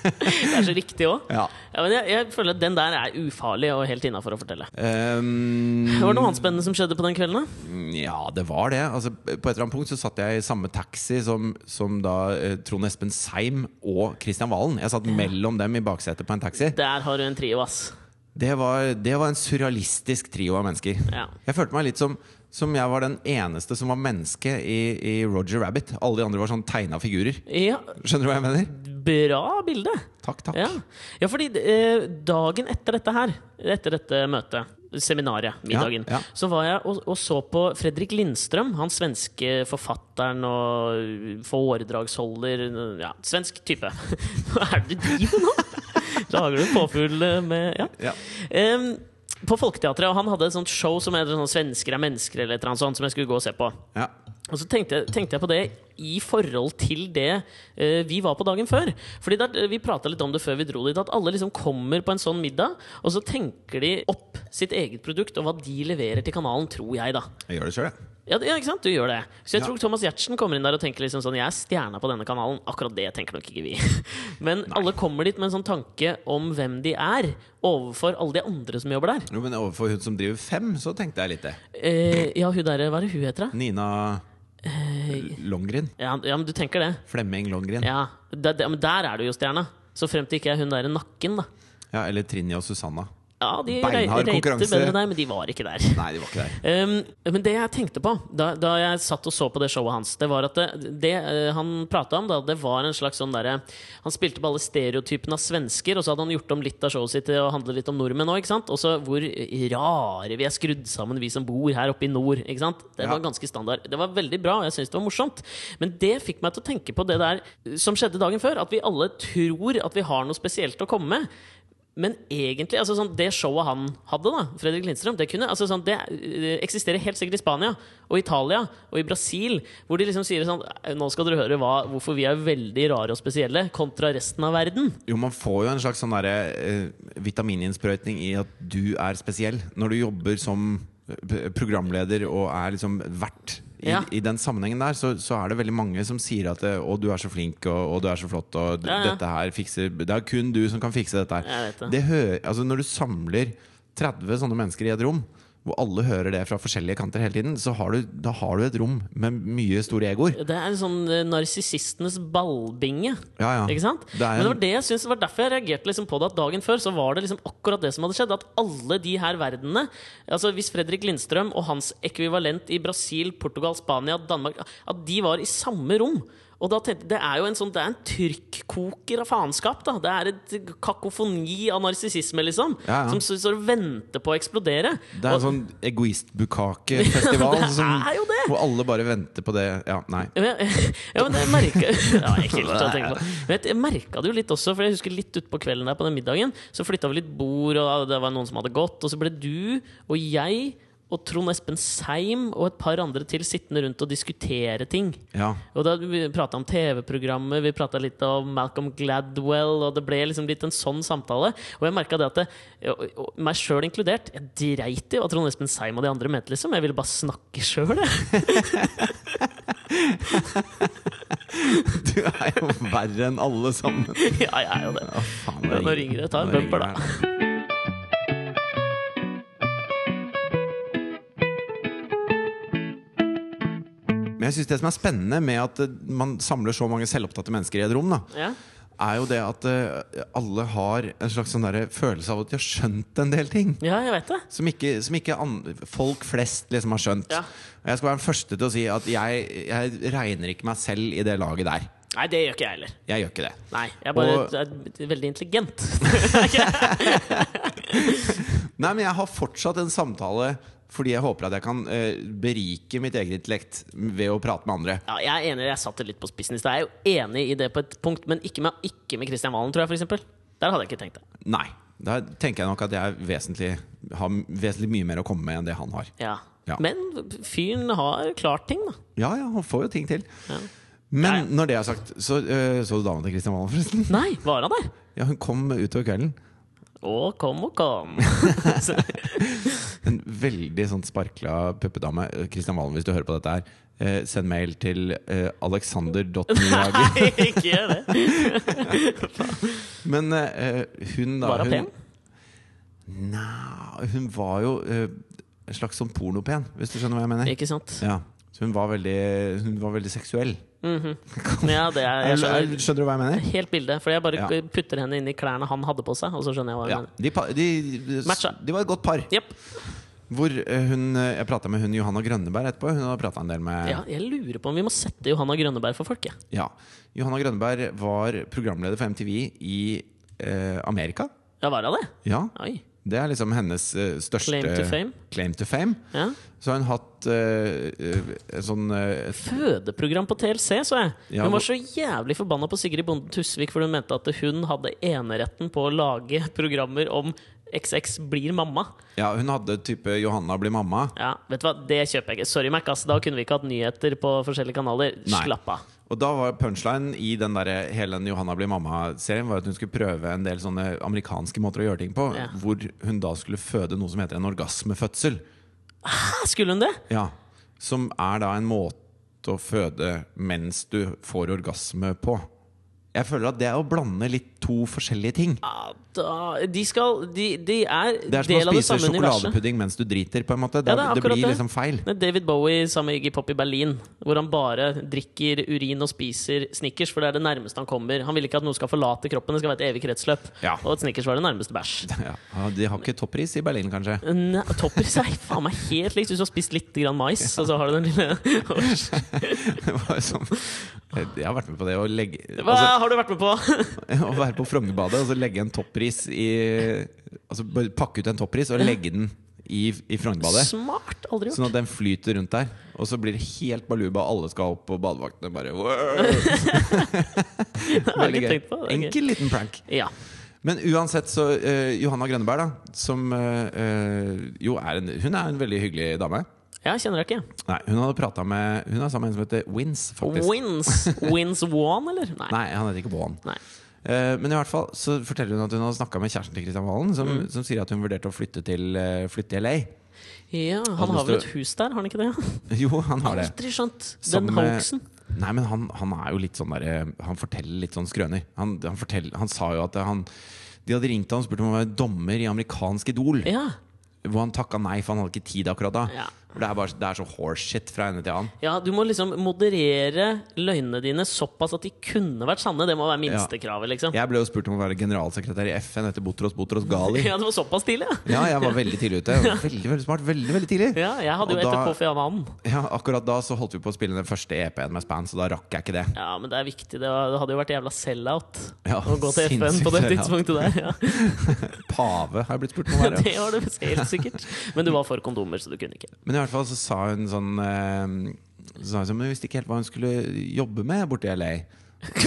[SPEAKER 2] Det er så riktig òg.
[SPEAKER 1] Ja.
[SPEAKER 2] Ja, men jeg, jeg føler at den der er ufarlig og helt innafor å fortelle.
[SPEAKER 1] Ehm,
[SPEAKER 2] Var det noe annet spennende som skjedde på den kvelden? da?
[SPEAKER 1] ja, det var det. Altså, på et eller annet punkt så satt jeg i samme taxi som, som da eh, Trond Espen Seim og Kristian Valen. Jeg satt mellom dem i baksetet på en taxi.
[SPEAKER 2] Der har du en trio, ass.
[SPEAKER 1] Det var, det var en surrealistisk trio av mennesker.
[SPEAKER 2] Ja.
[SPEAKER 1] Jeg følte meg litt som, som jeg var den eneste som var menneske i, i Roger Rabbit. Alle de andre var sånn tegna figurer.
[SPEAKER 2] ja
[SPEAKER 1] Skjønner du hva jeg mener?
[SPEAKER 2] bra bilde!
[SPEAKER 1] Takk, takk.
[SPEAKER 2] Ja, ja fordi eh, dagen etter dette her, etter dette møtet, seminaret, middagen,
[SPEAKER 1] Ja, ja.
[SPEAKER 2] så var jeg og, og så på Fredrik Lindstrøm, han svenske forfatteren og foredragsholder Ja, svensk type. Hva er det du driver med nå? Lager du påfugl eh, med Ja.
[SPEAKER 1] Ja.
[SPEAKER 2] Em, på Folketeatret, og han hadde et sånt show som heter sånn 'Svensker er mennesker' eller et eller annet sånt, som jeg skulle gå og se på.
[SPEAKER 1] Ja.
[SPEAKER 2] Og så tenkte jeg, tenkte jeg på det i forhold til det eh, vi var på dagen før. Fordi der, Vi prata litt om det før vi dro dit, at alle liksom kommer på en sånn middag, og så tenker de opp sitt eget produkt og hva de leverer til kanalen, tror jeg, da.
[SPEAKER 1] Jeg gjør det sjøl, jeg.
[SPEAKER 2] Ja, det- ja ikke sant? Du gjør det. Så jeg
[SPEAKER 1] Ja.
[SPEAKER 2] tror Thomas Giertsen kommer inn der og tenker liksom sånn Jeg er stjerna på denne kanalen. Akkurat det tenker nok ikke vi. Men alle kommer dit med en sånn tanke om hvem de er, overfor alle de andre som jobber der.
[SPEAKER 1] Jo, men overfor hun som driver Fem, så tenkte jeg litt det.
[SPEAKER 2] Eh, ja, hun derre Hva er det hun heter, da?
[SPEAKER 1] Nina Longren.
[SPEAKER 2] Ja, ja, men du tenker det?
[SPEAKER 1] Flemming Longren. Ja.
[SPEAKER 2] Eh, Ja, der, der, men der er du jo stjerna. Så frem til ikke er hun der i nakken, da.
[SPEAKER 1] eller Trinje og Susanna.
[SPEAKER 2] Ja, de
[SPEAKER 1] Beinhard
[SPEAKER 2] rate
[SPEAKER 1] konkurranse.
[SPEAKER 2] bedre der, men de var ikke der.
[SPEAKER 1] Nei, de var ikke der.
[SPEAKER 2] Um, men det jeg tenkte på da, da jeg satt og så på det showet hans, det var at det, det eh, han prata om, da, det var en slags sånn derre Han spilte på alle stereotypene av svensker, og så hadde han gjort om litt av showet sitt til å handle litt om nordmenn òg, ikke sant? Og så hvor rare vi er skrudd sammen, vi som bor her oppe i nord, ikke sant? Det
[SPEAKER 1] Ja.
[SPEAKER 2] var ganske standard. Det var veldig bra, og jeg syns det var morsomt. Men det fikk meg til å tenke på det der eh, som skjedde dagen før, at vi alle tror at vi har noe spesielt å komme med. Men egentlig, altså sånn, det showet han hadde, da, Fredrik Lindstrøm, det, kunne, altså sånn, det eh, eksisterer helt sikkert i Spania og Italia og i Brasil, hvor de liksom sier sånn Nå skal dere høre hva, hvorfor vi er veldig rare og spesielle kontra resten av verden.
[SPEAKER 1] Jo, man får jo en slags sånn derre eh, vitamininnsprøytning i at du er spesiell. Når du jobber som eh, programleder og er liksom vert i,
[SPEAKER 2] Ja.
[SPEAKER 1] i den sammenhengen der, så, så er det veldig mange som sier at eh, 'Å, du er så flink, og, og du er så flott, og d-
[SPEAKER 2] Ja, ja.
[SPEAKER 1] dette her fikser Det er kun du som kan fikse dette
[SPEAKER 2] Jeg
[SPEAKER 1] her.
[SPEAKER 2] vet det.
[SPEAKER 1] Det hø altså, når du samler 30 sånne mennesker i et rom hvor alle hører det fra forskjellige kanter hele tiden, så har du, da har du et rom med mye store egoer.
[SPEAKER 2] Det er en sånn eh, narsissistenes ballbinge.
[SPEAKER 1] Ja, ja.
[SPEAKER 2] Ikke sant?
[SPEAKER 1] Det er en-
[SPEAKER 2] Men det var, det jeg synes, det var derfor jeg reagerte liksom på det at dagen før så var det liksom akkurat det som hadde skjedd. At alle de her verdenene Altså Hvis Fredrik Lindstrøm og hans ekvivalent i Brasil, Portugal, Spania, Danmark At de var i samme rom. Og da tenkte, Det er jo en sånn Det er en tyrkkoker av faenskap. da Det er et kakofoni av narsissisme, liksom.
[SPEAKER 1] Ja, ja.
[SPEAKER 2] Som s- står og venter på å eksplodere.
[SPEAKER 1] Det er en
[SPEAKER 2] Og-
[SPEAKER 1] sånn egoistbukake-festival
[SPEAKER 2] Det er jo det!
[SPEAKER 1] hvor alle bare venter på det. Ja, nei.
[SPEAKER 2] Ja, men- ja, men jeg merka ja, jeg er ikke helt til å tenke på. Men jeg- jeg merket det jo litt også, for jeg husker litt utpå kvelden der på den middagen, så flytta vi litt bord, og det var noen som hadde gått, og så ble du og jeg og Trond Espen Seim og et par andre til sittende rundt og diskutere ting.
[SPEAKER 1] Ja.
[SPEAKER 2] Og da Vi prata om TV-programmet, vi prata litt om Malcolm Gladwell, og det ble liksom litt en sånn samtale. Og jeg merka det at det, og- og meg sjøl inkludert, jeg dreit i hva Trond Espen Seim og de andre mente, liksom. Jeg ville bare snakke sjøl, jeg.
[SPEAKER 1] Du er jo verre enn alle sammen.
[SPEAKER 2] Ja, jeg er jo det.
[SPEAKER 1] Å, faen,
[SPEAKER 2] Nå ringer det. Ta en
[SPEAKER 1] Nå ringer
[SPEAKER 2] bumper, da.
[SPEAKER 1] det. Men jeg synes Det som er spennende med at eh, man samler så mange selvopptatte mennesker i et rom, da,
[SPEAKER 2] Ja.
[SPEAKER 1] er jo det at eh, alle har en slags sånn derre følelse av at de har skjønt en del ting.
[SPEAKER 2] Ja, jeg vet det.
[SPEAKER 1] Som ikke, som ikke an, folk flest liksom har skjønt.
[SPEAKER 2] Ja.
[SPEAKER 1] Og Jeg skal være den første til å si at jeg, jeg regner ikke meg selv i det laget der.
[SPEAKER 2] Nei, det gjør ikke jeg heller.
[SPEAKER 1] Jeg gjør ikke det.
[SPEAKER 2] Nei, jeg er bare
[SPEAKER 1] Og-
[SPEAKER 2] er veldig intelligent.
[SPEAKER 1] Nei, men jeg har fortsatt en samtale fordi jeg håper at jeg kan eh, berike mitt eget intellekt ved å prate med andre.
[SPEAKER 2] Ja, jeg er enig, jeg satte det litt på spissen i stad. Jeg er jo enig i det på et punkt, men ikke med, ikke med Christian Valen, tror jeg, for eksempel. Der hadde jeg ikke tenkt det.
[SPEAKER 1] Nei. Da tenker jeg nok at jeg vesentlig, har vesentlig mye mer å komme med enn det han har.
[SPEAKER 2] Ja.
[SPEAKER 1] Ja.
[SPEAKER 2] Men fyren har klart ting, da.
[SPEAKER 1] Ja, ja, han får jo ting til.
[SPEAKER 2] Ja.
[SPEAKER 1] Men
[SPEAKER 2] Ja, ja.
[SPEAKER 1] når det er sagt, så eh, så du dama til Kristian Valen, forresten?
[SPEAKER 2] Nei, var han det?
[SPEAKER 1] Ja, hun kom utover kvelden.
[SPEAKER 2] Å, kom og kom. Så-
[SPEAKER 1] En veldig sånn sparkla puppedame. Kristian Valen, hvis du hører på dette her, eh, send mail til eh, alexander.nyhager.
[SPEAKER 2] Nei, ikke gjør det.
[SPEAKER 1] Men eh, hun da
[SPEAKER 2] Var han pen?
[SPEAKER 1] Nei, hun var jo eh, en slags sånn pornopen, hvis du skjønner hva jeg mener.
[SPEAKER 2] Ikke sant?
[SPEAKER 1] Ja. Så hun var veldig, hun var veldig seksuell.
[SPEAKER 2] Mhm. Ja, det er, jeg
[SPEAKER 1] Er- er-
[SPEAKER 2] skjønner
[SPEAKER 1] Skjønner du hva jeg mener?
[SPEAKER 2] helt bildet. For jeg bare
[SPEAKER 1] Ja.
[SPEAKER 2] putter henne inn i klærne han hadde på seg, og så skjønner jeg hva hun
[SPEAKER 1] Ja,
[SPEAKER 2] mener.
[SPEAKER 1] de, pa- de, de,
[SPEAKER 2] Matcha.
[SPEAKER 1] de var et godt par.
[SPEAKER 2] Jepp.
[SPEAKER 1] Hvor eh, hun, eh, Jeg prata med hun Johanna Grønneberg etterpå. Hun har prata en del med
[SPEAKER 2] Ja, jeg lurer på om vi må sette Johanna Grønneberg for folk, jeg.
[SPEAKER 1] Ja. Johanna Grønneberg var programleder for MTV i eh, Amerika.
[SPEAKER 2] Ja, var hun det?
[SPEAKER 1] Ja,
[SPEAKER 2] Oi.
[SPEAKER 1] Det er liksom hennes eh, største
[SPEAKER 2] Claim to fame.
[SPEAKER 1] claim to fame.
[SPEAKER 2] Ja.
[SPEAKER 1] Så har hun hatt eh, eh, sånn eh,
[SPEAKER 2] Fødeprogram på TLC, så jeg.
[SPEAKER 1] Ja,
[SPEAKER 2] hun
[SPEAKER 1] hvor-
[SPEAKER 2] var så jævlig forbanna på Sigrid Bonde Tusvik fordi hun mente at hun hadde eneretten på å lage programmer om XX blir mamma.
[SPEAKER 1] Ja, hun hadde type 'Johanna blir mamma'.
[SPEAKER 2] Ja, vet du hva, Det kjøper jeg ikke. Sorry, Mac. ass, Da kunne vi ikke hatt nyheter på forskjellige kanaler.
[SPEAKER 1] Nei.
[SPEAKER 2] Slapp av.
[SPEAKER 1] Og da var punchline i den der, eh, hele den 'Johanna blir mamma'-serien Var at hun skulle prøve en del sånne amerikanske måter å gjøre ting på.
[SPEAKER 2] Ja.
[SPEAKER 1] Hvor hun da skulle føde noe som heter en orgasmefødsel.
[SPEAKER 2] Hæ, Skulle hun det?
[SPEAKER 1] Ja, Som er da en måte å føde mens du får orgasme på. Jeg føler at det er å blande litt to forskjellige ting.
[SPEAKER 2] Ja, da, de skal De, de er,
[SPEAKER 1] Det er som
[SPEAKER 2] del
[SPEAKER 1] å
[SPEAKER 2] av det
[SPEAKER 1] spise
[SPEAKER 2] samme universet.
[SPEAKER 1] sjokoladepudding mens du driter. på en måte
[SPEAKER 2] Ja,
[SPEAKER 1] Det,
[SPEAKER 2] det er
[SPEAKER 1] det
[SPEAKER 2] akkurat
[SPEAKER 1] blir
[SPEAKER 2] det.
[SPEAKER 1] liksom feil.
[SPEAKER 2] Det er David Bowie sammen med Iggy Pop i Berlin, hvor han bare drikker urin og spiser Snickers, for det er det nærmeste han kommer. Han vil ikke at noe skal forlate kroppen, det skal være et evig kretsløp.
[SPEAKER 1] Ja.
[SPEAKER 2] Og at Snickers var det nærmeste bæsj.
[SPEAKER 1] Ja, De har ikke toppris i Berlin, kanskje?
[SPEAKER 2] Nei, Toppris er faen meg helt likt hvis du har spist litt grann mais, og så har du den lille
[SPEAKER 1] Det var som, jeg har vært med på det å legge
[SPEAKER 2] Hva
[SPEAKER 1] altså,
[SPEAKER 2] har du vært med på?
[SPEAKER 1] Å være på Frognerbadet og så legge en toppris i Altså bare pakke ut en toppris og legge den i, i Frognerbadet.
[SPEAKER 2] Smart! Aldri gjort.
[SPEAKER 1] Sånn at den flyter rundt der. Og så blir det helt baluba, og alle skal opp, og badevaktene bare wow.
[SPEAKER 2] Det har jeg ikke tenkt på. Det er gøy.
[SPEAKER 1] Enkel liten prank.
[SPEAKER 2] Ja.
[SPEAKER 1] Men uansett så eh, Johanna Grønneberg, da, som eh, eh, jo er en Hun er en veldig hyggelig dame.
[SPEAKER 2] Jeg kjenner deg ikke.
[SPEAKER 1] Nei, hun hadde prata med Hun er sammen med en som heter Wins, faktisk.
[SPEAKER 2] Wins Wins Wan, eller? Nei.
[SPEAKER 1] Nei, han heter ikke Vaughn.
[SPEAKER 2] Nei.
[SPEAKER 1] Eh, Men i hvert fall så forteller hun at hun har snakka med kjæresten til Kristian Valen, som, som sier at hun vurderte å flytte til eh, flytte i LA.
[SPEAKER 2] Ja,
[SPEAKER 1] Hadde
[SPEAKER 2] han har vel
[SPEAKER 1] lyst
[SPEAKER 2] et hus der, har han ikke det?
[SPEAKER 1] Jo, han har det.
[SPEAKER 2] Aldri skjønt den
[SPEAKER 1] Sammen med-
[SPEAKER 2] hoaxen.
[SPEAKER 1] Nei, men han, han er jo litt sånn derre Han forteller litt sånn skrøner. Han, han, forteller- han sa jo at han de hadde ringt han og spurt om han var dommer i amerikansk Idol.
[SPEAKER 2] Ja.
[SPEAKER 1] hvor han takka nei, for han hadde ikke tid akkurat da.
[SPEAKER 2] Ja.
[SPEAKER 1] For det er, bare, det er så horseshit fra ende til annen.
[SPEAKER 2] Ja, du må liksom moderere løgnene dine såpass at de kunne vært sanne. Det må være minstekravet, liksom.
[SPEAKER 1] Jeg ble jo spurt om å være generalsekretær i FN etter Botros Botros Gali.
[SPEAKER 2] Ja, det var såpass tidlig, ja.
[SPEAKER 1] Ja, jeg var veldig tidlig ute. Veldig, veldig smart. Veldig, veldig tidlig.
[SPEAKER 2] ja jeg hadde jo
[SPEAKER 1] Og da-
[SPEAKER 2] etterpå Fianan.
[SPEAKER 1] Ja, akkurat da så holdt vi på å spille den første EP-en med Span, så da rakk jeg ikke det.
[SPEAKER 2] Ja, men det er viktig. Det, var, det hadde jo vært jævla sell-out
[SPEAKER 1] Ja,
[SPEAKER 2] å gå til FN på det
[SPEAKER 1] sinnssykt
[SPEAKER 2] tidspunktet der. Ja.
[SPEAKER 1] Pave har jeg blitt spurt om å være.
[SPEAKER 2] Det var det helt sikkert. Men du var for kondomer, så du kunne ikke.
[SPEAKER 1] Men i hvert fall så sa hun sånn eh, Så sa hun sånn, men hun visste ikke helt hva hun skulle jobbe med borte i LA.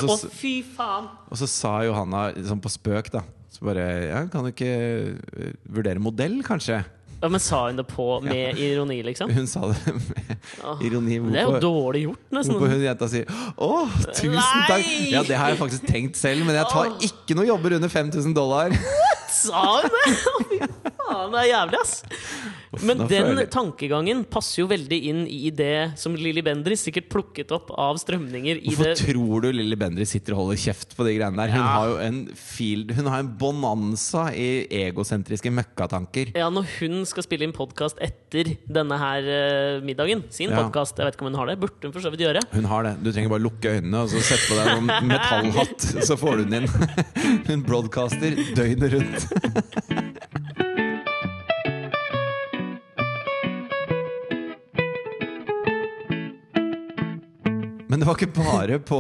[SPEAKER 1] Og
[SPEAKER 2] Å,
[SPEAKER 1] så,
[SPEAKER 2] fy faen!
[SPEAKER 1] og så sa Johanna liksom på spøk, da. Så bare ja, Kan du ikke eh, vurdere modell, kanskje?
[SPEAKER 2] Ja, men sa hun det på med ironi, liksom?
[SPEAKER 1] Hun sa det med ironi.
[SPEAKER 2] Det er jo
[SPEAKER 1] Hvorfor,
[SPEAKER 2] dårlig gjort, nesten.
[SPEAKER 1] hvorfor hun jenta sier 'Å, tusen takk'.
[SPEAKER 2] Nei!
[SPEAKER 1] Ja, det har jeg faktisk tenkt selv, men jeg tar
[SPEAKER 2] Åh.
[SPEAKER 1] ikke noen jobber under 5000 dollar.
[SPEAKER 2] Sa hun det?! Å, Fy faen, det er jævlig, ass! Men
[SPEAKER 1] nå
[SPEAKER 2] den
[SPEAKER 1] føler jeg-
[SPEAKER 2] tankegangen passer jo veldig inn i det som Lilly Bendriss sikkert plukket opp av strømninger i
[SPEAKER 1] Hvorfor
[SPEAKER 2] det
[SPEAKER 1] tror du Lilly Bendriss sitter og holder kjeft på de greiene der? Hun
[SPEAKER 2] Ja.
[SPEAKER 1] har jo en field Hun har en bonanza i egosentriske møkkatanker.
[SPEAKER 2] Ja, når hun skal spille inn podkast etter denne her eh, middagen, sin
[SPEAKER 1] Ja.
[SPEAKER 2] podcast, jeg vet ikke om hun har det, burde hun for så vidt gjøre.
[SPEAKER 1] Hun har det. Du trenger bare lukke øynene og så sette på deg noen metallhatt, så får du den inn. Hun broadcaster døgnet rundt. Men det var ikke bare på,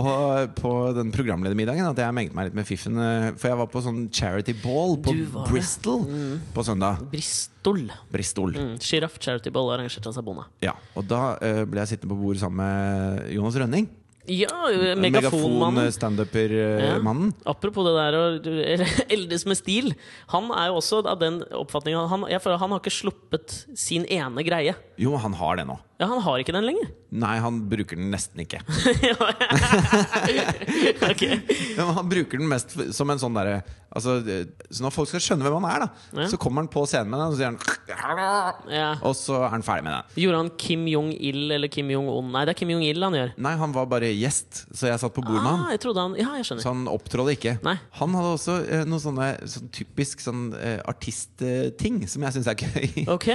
[SPEAKER 1] på den programledermiddagen at jeg mengte meg litt med fiffen. eh, For jeg var på sånn charity ball på
[SPEAKER 2] Du var det. Mm.
[SPEAKER 1] Bristol på søndag.
[SPEAKER 2] Bristol.
[SPEAKER 1] Bristol.
[SPEAKER 2] Mm, Sjiraff Charity Ball arrangerte av seg bonde.
[SPEAKER 1] Ja, Og da eh, ble jeg sittende på bordet sammen med Jonas Rønning.
[SPEAKER 2] Ja, eh, megafonmannen. Ja.
[SPEAKER 1] Megafon-standuper-mannen.
[SPEAKER 2] Apropos det der å eller, eldes med stil. Han er jo også av den oppfatninga han, jeg føler han har ikke sluppet sin ene greie.
[SPEAKER 1] Jo, han har det nå.
[SPEAKER 2] Ja, han har ikke den lenger.
[SPEAKER 1] Nei, han bruker den nesten ikke.
[SPEAKER 2] Ok.
[SPEAKER 1] Men han bruker den mest f- som en sånn derre altså, eh, Så når folk skal skjønne hvem han er, da,
[SPEAKER 2] Ja.
[SPEAKER 1] så kommer han på scenen med den, og så sier han
[SPEAKER 2] Ja.
[SPEAKER 1] Og så er han ferdig med den.
[SPEAKER 2] Gjorde han Kim Jong-il eller Kim Jong-on? Nei, det er Kim Jong-il han gjør.
[SPEAKER 1] Nei, han var bare gjest, så jeg satt på bord med han.
[SPEAKER 2] Ah, jeg trodde han Ja, jeg skjønner.
[SPEAKER 1] Så han opptrådde ikke.
[SPEAKER 2] Nei.
[SPEAKER 1] Han hadde også eh, noen sånne sånn typisk sånn eh, artistting som jeg syns er gøy.
[SPEAKER 2] Ok.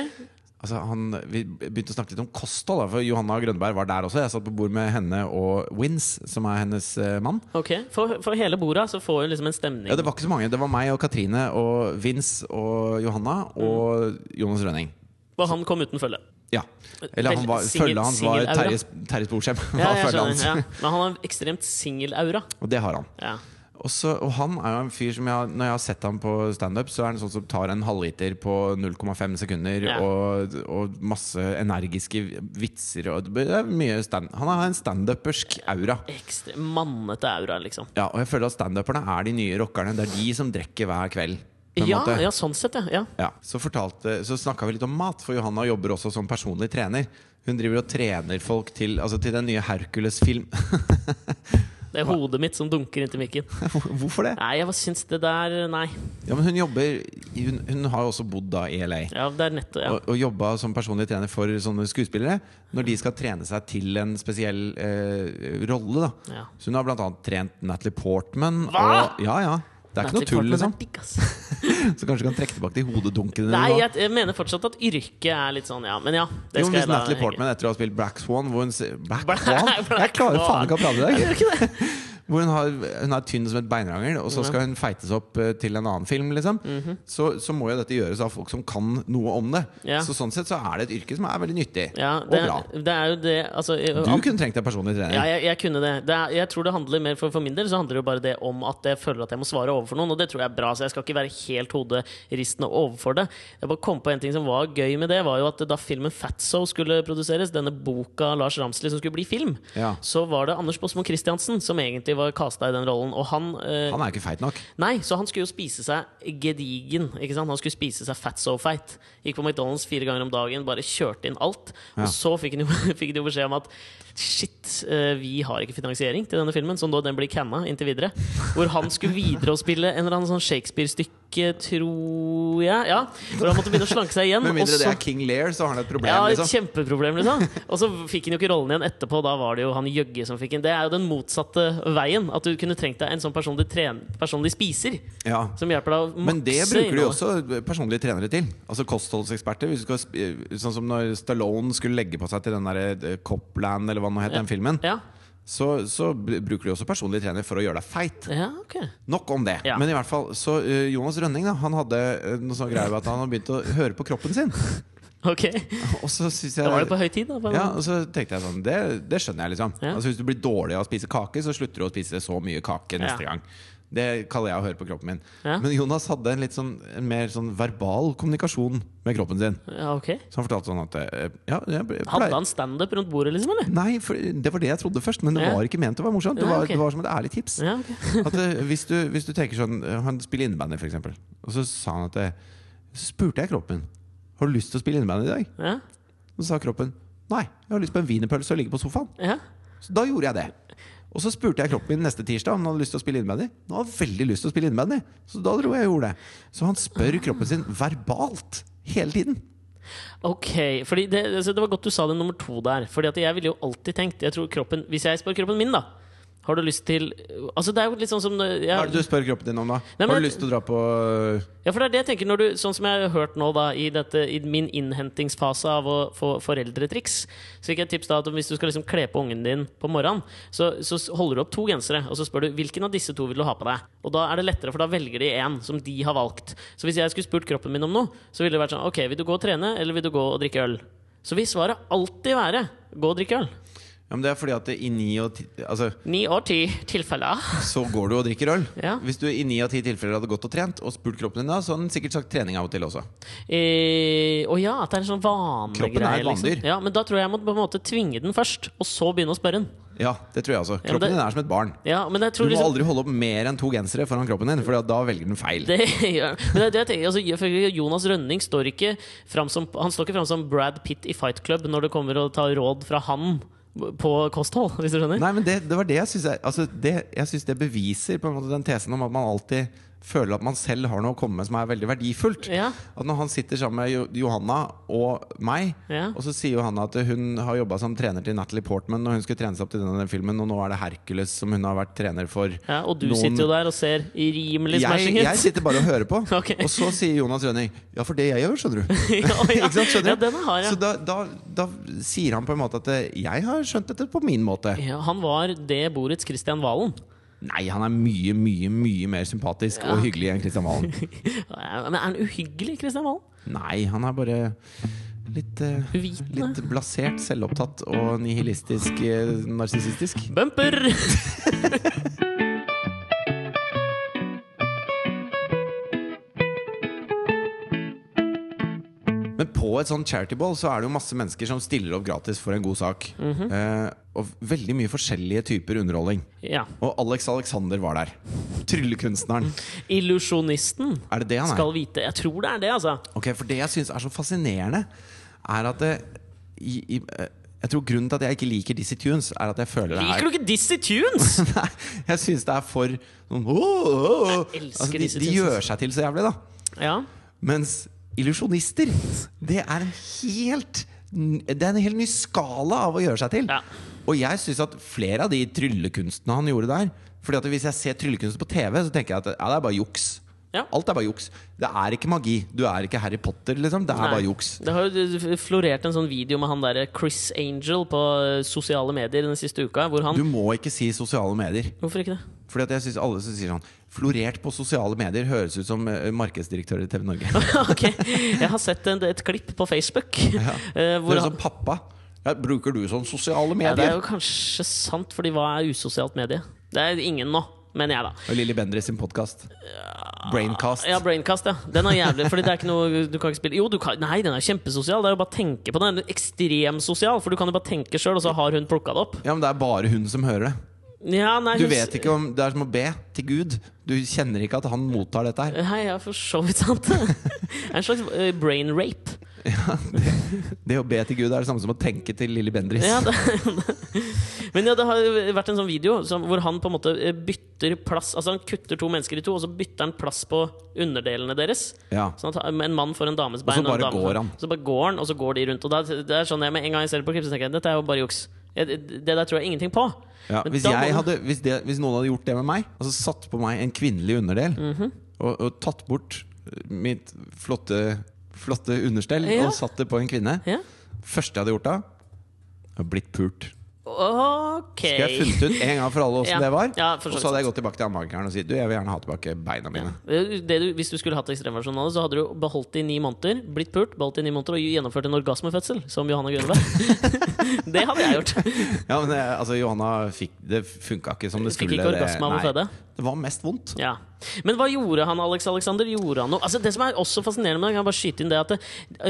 [SPEAKER 1] Altså, han, vi begynte å snakke litt om kosthold, da, for Johanna Grønneberg var der også. Jeg satt på bord med henne og Wins, som er hennes eh, mann.
[SPEAKER 2] Ok, For, for hele bordet så får hun liksom en stemning.
[SPEAKER 1] Ja, det var ikke så mange. Det var meg og Katrine og Vince og Johanna og Jonas Rønning.
[SPEAKER 2] Og han kom uten følge.
[SPEAKER 1] Ja. Eller han
[SPEAKER 2] Vel,
[SPEAKER 1] var,
[SPEAKER 2] singel-
[SPEAKER 1] følget hans var
[SPEAKER 2] singelaura.
[SPEAKER 1] Terje, Terje Sporsem.
[SPEAKER 2] Ja,
[SPEAKER 1] var
[SPEAKER 2] jeg
[SPEAKER 1] følget
[SPEAKER 2] skjønner,
[SPEAKER 1] hans.
[SPEAKER 2] ja. Men han har en ekstremt singelaura.
[SPEAKER 1] Og det har han.
[SPEAKER 2] Ja.
[SPEAKER 1] Og så- og han er jo en fyr som jeg, Når jeg har sett ham på standup, så er han sånn som tar en halvliter på 0,5 sekunder.
[SPEAKER 2] Ja.
[SPEAKER 1] Og, og masse energiske vitser. Og det er mye stand, han har en standupersk aura.
[SPEAKER 2] Ekstre- Mannete aura, liksom.
[SPEAKER 1] Ja, og jeg føler at standuperne er de nye rockerne. Det er de som drikker hver kveld. på en
[SPEAKER 2] Ja,
[SPEAKER 1] måte.
[SPEAKER 2] ja, sånn sett, ja. ja.
[SPEAKER 1] Ja, så, fortalte- så snakka vi litt om mat, for Johanna jobber også som personlig trener. Hun driver og trener folk til, altså til den nye Hercules-film.
[SPEAKER 2] Det er hodet mitt som dunker inntil mikken.
[SPEAKER 1] Hvorfor det?
[SPEAKER 2] Nei, jeg bare syns det der Nei.
[SPEAKER 1] Ja, men Hun jobber Hun, hun har jo også bodd da i LA.
[SPEAKER 2] Ja, det er nettopp ja.
[SPEAKER 1] Og, og jobba som personlig trener for sånne skuespillere når de skal trene seg til en spesiell eh, rolle. da
[SPEAKER 2] Ja.
[SPEAKER 1] Så hun har bl.a. trent Natalie Portman.
[SPEAKER 2] Hva?!
[SPEAKER 1] Og, ja, ja. Det er ikke noe tull, liksom.
[SPEAKER 2] Digg, ass.
[SPEAKER 1] Så kanskje du kan trekke tilbake de hodedunkene dine
[SPEAKER 2] Nei,
[SPEAKER 1] nå.
[SPEAKER 2] jeg, jeg mener fortsatt at yrket er litt sånn, ja. Men ja. Det
[SPEAKER 1] Jo, men
[SPEAKER 2] skal
[SPEAKER 1] hvis
[SPEAKER 2] jeg la
[SPEAKER 1] Natalie
[SPEAKER 2] henge.
[SPEAKER 1] Portman etter å ha spilt Black Swan hvor hun sier- Black
[SPEAKER 2] Black
[SPEAKER 1] Swan? Jeg klarer faen ikke å prate i dag!
[SPEAKER 2] Gjør ikke det?
[SPEAKER 1] Hvor hun, har, hun er tynn som et beinrangel, og så skal hun feites opp eh, til en annen film. Liksom.
[SPEAKER 2] Mhm.
[SPEAKER 1] så, så må jo dette gjøres av folk som kan noe om det.
[SPEAKER 2] Ja.
[SPEAKER 1] Så sånn sett så er det et yrke som er veldig nyttig
[SPEAKER 2] Ja,
[SPEAKER 1] og
[SPEAKER 2] det,
[SPEAKER 1] bra.
[SPEAKER 2] det er jo det altså,
[SPEAKER 1] Du kunne trengt deg personlig trener.
[SPEAKER 2] Ja, jeg, jeg kunne det. det er, jeg tror det handler mer for, for min del så handler det jo bare det om at jeg føler at jeg må svare overfor noen, og det tror jeg er bra. Så jeg skal ikke være helt hoderistende overfor det. Jeg bare kom på en ting som var gøy med det, var jo at da filmen Fatso skulle produseres, denne boka av Lars Ramsli som skulle bli film,
[SPEAKER 1] Ja.
[SPEAKER 2] så var det Anders Båsmo Christiansen som egentlig var casta i den rollen, og han eh,
[SPEAKER 1] Han er jo ikke feit nok.
[SPEAKER 2] Nei, så han skulle jo spise seg gedigen. ikke sant? Han skulle spise seg fat so feit. Gikk på McDonald's fire ganger om dagen, bare kjørte inn alt.
[SPEAKER 1] Ja.
[SPEAKER 2] Og så fikk han jo, fikk de jo beskjed om at shit, eh, vi har ikke finansiering til denne filmen, så nå den blir canna inntil videre. Hvor han skulle videre og spille en eller annen sånn Shakespeare-stykke ikke, tror jeg. Ja, Hvor han måtte begynne å slanke seg igjen.
[SPEAKER 1] Med mindre
[SPEAKER 2] og
[SPEAKER 1] det
[SPEAKER 2] så-
[SPEAKER 1] er King Lear, så har han et problem.
[SPEAKER 2] ja, et
[SPEAKER 1] liksom.
[SPEAKER 2] kjempeproblem, liksom. Og så fikk han jo ikke rollen igjen etterpå. Da var det jo han Jøgge som fikk den. Det er jo den motsatte veien. At du kunne trengt deg en sånn person de, tren person de spiser,
[SPEAKER 1] Ja.
[SPEAKER 2] som hjelper deg å makse
[SPEAKER 1] Men det bruker de
[SPEAKER 2] innholdet.
[SPEAKER 1] også personlige trenere til. Altså kostholdseksperter. Hvis du skal, sp- sånn som når Stallone skulle legge på seg til den der eh, Copland, eller hva nå het den filmen,
[SPEAKER 2] Ja.
[SPEAKER 1] så, så br- bruker de også personlig trener for å gjøre deg feit.
[SPEAKER 2] ja, ok.
[SPEAKER 1] Nok om det.
[SPEAKER 2] Ja.
[SPEAKER 1] Men i hvert fall, så eh, Jonas Rønning da, han hadde eh, noe sånn greie med at han hadde begynt å høre på kroppen sin.
[SPEAKER 2] Ok,
[SPEAKER 1] Og så synes jeg
[SPEAKER 2] Da var det på høy tid, da. på en
[SPEAKER 1] ja,
[SPEAKER 2] måte.
[SPEAKER 1] og så tenkte jeg sånn, det, det skjønner jeg liksom
[SPEAKER 2] Ja.
[SPEAKER 1] Altså Hvis du blir dårlig av å spise kake, så slutter du å spise så mye kake neste
[SPEAKER 2] Ja.
[SPEAKER 1] gang. Det kaller jeg å høre på kroppen min.
[SPEAKER 2] Ja.
[SPEAKER 1] Men Jonas hadde en litt sånn en mer sånn verbal kommunikasjon med kroppen sin.
[SPEAKER 2] ja, ok.
[SPEAKER 1] Så han fortalte sånn at eh, ja, jeg ble-
[SPEAKER 2] Hadde
[SPEAKER 1] pleier-
[SPEAKER 2] han standup rundt bordet, liksom? eller?
[SPEAKER 1] Nei, for det var det jeg trodde først, men det
[SPEAKER 2] Ja.
[SPEAKER 1] var ikke ment å være morsomt. Det
[SPEAKER 2] Nei,
[SPEAKER 1] var,
[SPEAKER 2] ok.
[SPEAKER 1] det var som et ærlig tips.
[SPEAKER 2] Ja, ok.
[SPEAKER 1] At eh, hvis, du, hvis du tenker sånn eh, Han spiller innebandy, for eksempel. Og så sa han at eh, Så spurte jeg kroppen Har du lyst til å spille innebandy i dag?
[SPEAKER 2] ja.
[SPEAKER 1] Og så sa kroppen Nei, jeg har lyst på en wienerpølse og ligge på sofaen.
[SPEAKER 2] ja.
[SPEAKER 1] Så da gjorde jeg det. Og så spurte jeg kroppen min neste tirsdag om han hadde lyst til å spille innebandy. Han hadde veldig lyst til å spille innebandy, så da dro jeg og gjorde det. Så han spør kroppen sin verbalt hele tiden.
[SPEAKER 2] Ok, fordi det, altså, det var godt du sa det nummer to der. Fordi at jeg ville jo alltid tenkt jeg tror kroppen, Hvis jeg spør kroppen min, da Har du lyst til Altså Det er jo litt sånn som når
[SPEAKER 1] Hva er
[SPEAKER 2] jeg,
[SPEAKER 1] det du spør kroppen din om, da?
[SPEAKER 2] Nei, men-
[SPEAKER 1] har du lyst til å dra på
[SPEAKER 2] Ja, for det er det jeg tenker når du Sånn som jeg har hørt nå, da, i, dette, i min innhentingsfase av å få foreldretriks, så fikk jeg et tips da at hvis du skal liksom kle på ungen din på morgenen, så, så holder du opp to gensere, og så spør du hvilken av disse to vil du ha på deg. Og da er det lettere, for da velger de én som de har valgt. Så hvis jeg skulle spurt kroppen min om noe, så ville det vært sånn Ok, vil du gå og trene, eller vil du gå og drikke øl? Så vil svaret alltid være gå og drikke øl.
[SPEAKER 1] Ja, men Det er fordi at i ni og ti Altså,
[SPEAKER 2] Ni og ti tilfeller.
[SPEAKER 1] så går du og drikker øl.
[SPEAKER 2] Ja.
[SPEAKER 1] Hvis du i ni av ti tilfeller hadde gått og trent og spurt kroppen din da, så hadde den sikkert sagt trening av og til også.
[SPEAKER 2] Eh, og ja, at det er en sånn vanegreie.
[SPEAKER 1] Kroppen er et
[SPEAKER 2] liksom.
[SPEAKER 1] vanedyr.
[SPEAKER 2] Ja, men da tror jeg jeg må på en måte tvinge den først, og så begynne å spørre den.
[SPEAKER 1] Ja, det tror jeg også.
[SPEAKER 2] men
[SPEAKER 1] Kroppen
[SPEAKER 2] det-
[SPEAKER 1] din er som et barn.
[SPEAKER 2] Ja, men jeg
[SPEAKER 1] Du
[SPEAKER 2] tror
[SPEAKER 1] må
[SPEAKER 2] liksom
[SPEAKER 1] aldri holde opp mer enn to gensere foran kroppen din, for da velger den feil.
[SPEAKER 2] det gjør Men det er det jeg tenker altså, for Jonas Rønning står ikke fram som Han står ikke fram som Brad Pitt i Fight Club når det kommer å ta råd fra han på kosthold, hvis du skjønner?
[SPEAKER 1] Nei, men det, det var det jeg syns er- altså det- Jeg synes det beviser på en måte den tesen om at man alltid føler at man selv har noe å komme med som er veldig verdifullt.
[SPEAKER 2] Ja.
[SPEAKER 1] At når han sitter sammen med Jo- Johanna og meg,
[SPEAKER 2] Ja.
[SPEAKER 1] og så sier Johanna at hun har jobba som trener til Natalie Portman, og hun skulle trene seg opp til denne filmen, og nå er det Hercules som hun har vært trener for.
[SPEAKER 2] Ja, og du sitter jo der og ser liksom, rimelig
[SPEAKER 1] jeg,
[SPEAKER 2] smashing ut.
[SPEAKER 1] jeg sitter bare og hører på.
[SPEAKER 2] Ok.
[SPEAKER 1] Og så sier Jonas Rønning Ja, for det jeg gjør, skjønner du.
[SPEAKER 2] ja, ja.
[SPEAKER 1] Ikke sant, skjønner du?
[SPEAKER 2] ja, den har jeg.
[SPEAKER 1] Så da, da, da sier han på en måte at eh, jeg har skjønt dette på min måte.
[SPEAKER 2] Ja, han var det Boritz Christian Valen.
[SPEAKER 1] Nei, han er mye, mye, mye mer sympatisk og hyggelig enn Kristian Valen.
[SPEAKER 2] Ja, Men er han uhyggelig, Christian Valen?
[SPEAKER 1] Nei, han er bare litt, eh,
[SPEAKER 2] Uvitende.
[SPEAKER 1] litt blasert, selvopptatt og nihilistisk eh, narsissistisk.
[SPEAKER 2] Bumper!
[SPEAKER 1] Men på et sånn charity ball så er det jo masse mennesker som stiller opp gratis for en god sak.
[SPEAKER 2] Mhm.
[SPEAKER 1] eh, og veldig mye forskjellige typer underholdning.
[SPEAKER 2] Ja.
[SPEAKER 1] Og Alex Alexander var der. Tryllekunstneren.
[SPEAKER 2] Illusjonisten
[SPEAKER 1] Er det det han er?
[SPEAKER 2] skal vite. Jeg tror det er det, altså.
[SPEAKER 1] Ok, For det jeg syns er så fascinerende, er at det, i, i, eh, Jeg tror grunnen til at jeg ikke liker Dizzie Tunes, er at jeg føler det er
[SPEAKER 2] Liker du ikke Dizzie Tunes?
[SPEAKER 1] Nei, jeg syns det er for sånn, «Åh, åh, åh».
[SPEAKER 2] Jeg elsker
[SPEAKER 1] altså, de,
[SPEAKER 2] disse
[SPEAKER 1] de
[SPEAKER 2] tidsene.
[SPEAKER 1] gjør seg til så jævlig, da.
[SPEAKER 2] Ja.
[SPEAKER 1] Mens illusjonister, det er en helt Det er en helt ny skala av å gjøre seg til.
[SPEAKER 2] Ja.
[SPEAKER 1] Og jeg syns at flere av de tryllekunstene han gjorde der Fordi at hvis jeg ser tryllekunst på TV, så tenker jeg at ja, det er bare juks.
[SPEAKER 2] Ja.
[SPEAKER 1] Alt er bare juks. Det er ikke magi. Du er ikke Harry Potter, liksom. Det er
[SPEAKER 2] Nei.
[SPEAKER 1] bare juks.
[SPEAKER 2] Det har jo florert en sånn video med han derre Chris Angel på eh, sosiale medier den siste uka, hvor han
[SPEAKER 1] Du må ikke si sosiale medier.
[SPEAKER 2] Hvorfor ikke det?
[SPEAKER 1] Fordi at jeg synes alle som sier sånn Florert på sosiale medier høres ut som eh, markedsdirektør i TV Norge.
[SPEAKER 2] ok, Jeg har sett en, et klipp på Facebook. eh,
[SPEAKER 1] Det
[SPEAKER 2] hvor
[SPEAKER 1] er sånn-
[SPEAKER 2] han,
[SPEAKER 1] som pappa. Ja, bruker du sånn sosiale
[SPEAKER 2] ja,
[SPEAKER 1] medier?
[SPEAKER 2] det er jo kanskje sant, fordi hva er usosialt medie? Det er ingen nå, mener jeg, da.
[SPEAKER 1] Og Lilly Bendriss sin podkast. Braincast.
[SPEAKER 2] Ja, Braincast, ja. Den er jævlig. Fordi det er ikke noe du kan ikke spille Jo, du kan, nei, den er kjempesosial. Det er jo bare å tenke på den. den. er Ekstremsosial, for du kan jo bare tenke sjøl, og så har hun plukka det opp.
[SPEAKER 1] Ja, men det er bare hun som hører det.
[SPEAKER 2] Ja, nei,
[SPEAKER 1] Du
[SPEAKER 2] hun-
[SPEAKER 1] vet ikke om Det er som å be til Gud. Du kjenner ikke at han mottar dette her.
[SPEAKER 2] Hei, ja, for så vidt sant. det er en slags eh, brain rape.
[SPEAKER 1] Det å be til Gud er det samme som å tenke til Lilly Bendriss.
[SPEAKER 2] Ja, det, men ja, det har jo vært en sånn video som, hvor han på en måte eh, bytter plass Altså han kutter to mennesker i to, og så bytter han plass på underdelene deres.
[SPEAKER 1] Ja.
[SPEAKER 2] Sånn at en mann får en dames
[SPEAKER 1] så
[SPEAKER 2] bein en
[SPEAKER 1] bare
[SPEAKER 2] dame
[SPEAKER 1] går
[SPEAKER 2] får-
[SPEAKER 1] han.
[SPEAKER 2] Så bare går han, og så går de rundt. Og da, det er sånn jeg med en gang jeg ser det på klipp, så tenker jeg dette er jo bare juks. Jeg- Det der tror jeg ingenting på.
[SPEAKER 1] Ja,
[SPEAKER 2] Men
[SPEAKER 1] hvis,
[SPEAKER 2] da må
[SPEAKER 1] jeg
[SPEAKER 2] du-
[SPEAKER 1] hadde, hvis, det, hvis noen hadde gjort det med meg, altså satt på meg en kvinnelig underdel
[SPEAKER 2] Mhm.
[SPEAKER 1] og, og tatt bort eh, mitt flotte, flotte understell
[SPEAKER 2] Ja.
[SPEAKER 1] og satt det på en kvinne
[SPEAKER 2] Ja.
[SPEAKER 1] Første jeg hadde gjort da, hadde blitt pult.
[SPEAKER 2] Ok.
[SPEAKER 1] Skulle jeg funnet ut en gang for alle åssen
[SPEAKER 2] Ja.
[SPEAKER 1] det var,
[SPEAKER 2] Ja,
[SPEAKER 1] og
[SPEAKER 2] for
[SPEAKER 1] så
[SPEAKER 2] så vidt
[SPEAKER 1] hadde jeg gått tilbake til anbankeren og sagt du, jeg vil gjerne ha tilbake beina mine.
[SPEAKER 2] Det du, hvis du skulle hatt ekstremversjonen av det, så hadde du beholdt det i ni måneder, blitt pult, beholdt det i ni måneder og gjennomført en orgasmefødsel, som Johanna Grønneberg. det hadde jeg gjort.
[SPEAKER 1] Ja, men det, altså, Johanna fikk Det funka ikke som det
[SPEAKER 2] Fikk
[SPEAKER 1] skulle.
[SPEAKER 2] ikke orgasme av å
[SPEAKER 1] det, nei.
[SPEAKER 2] føde.
[SPEAKER 1] det var mest vondt.
[SPEAKER 2] Ja. Men hva gjorde han, Alex Alexander? Gjorde han noe? Altså, det som er også fascinerende med det, kan jeg bare skyte inn det at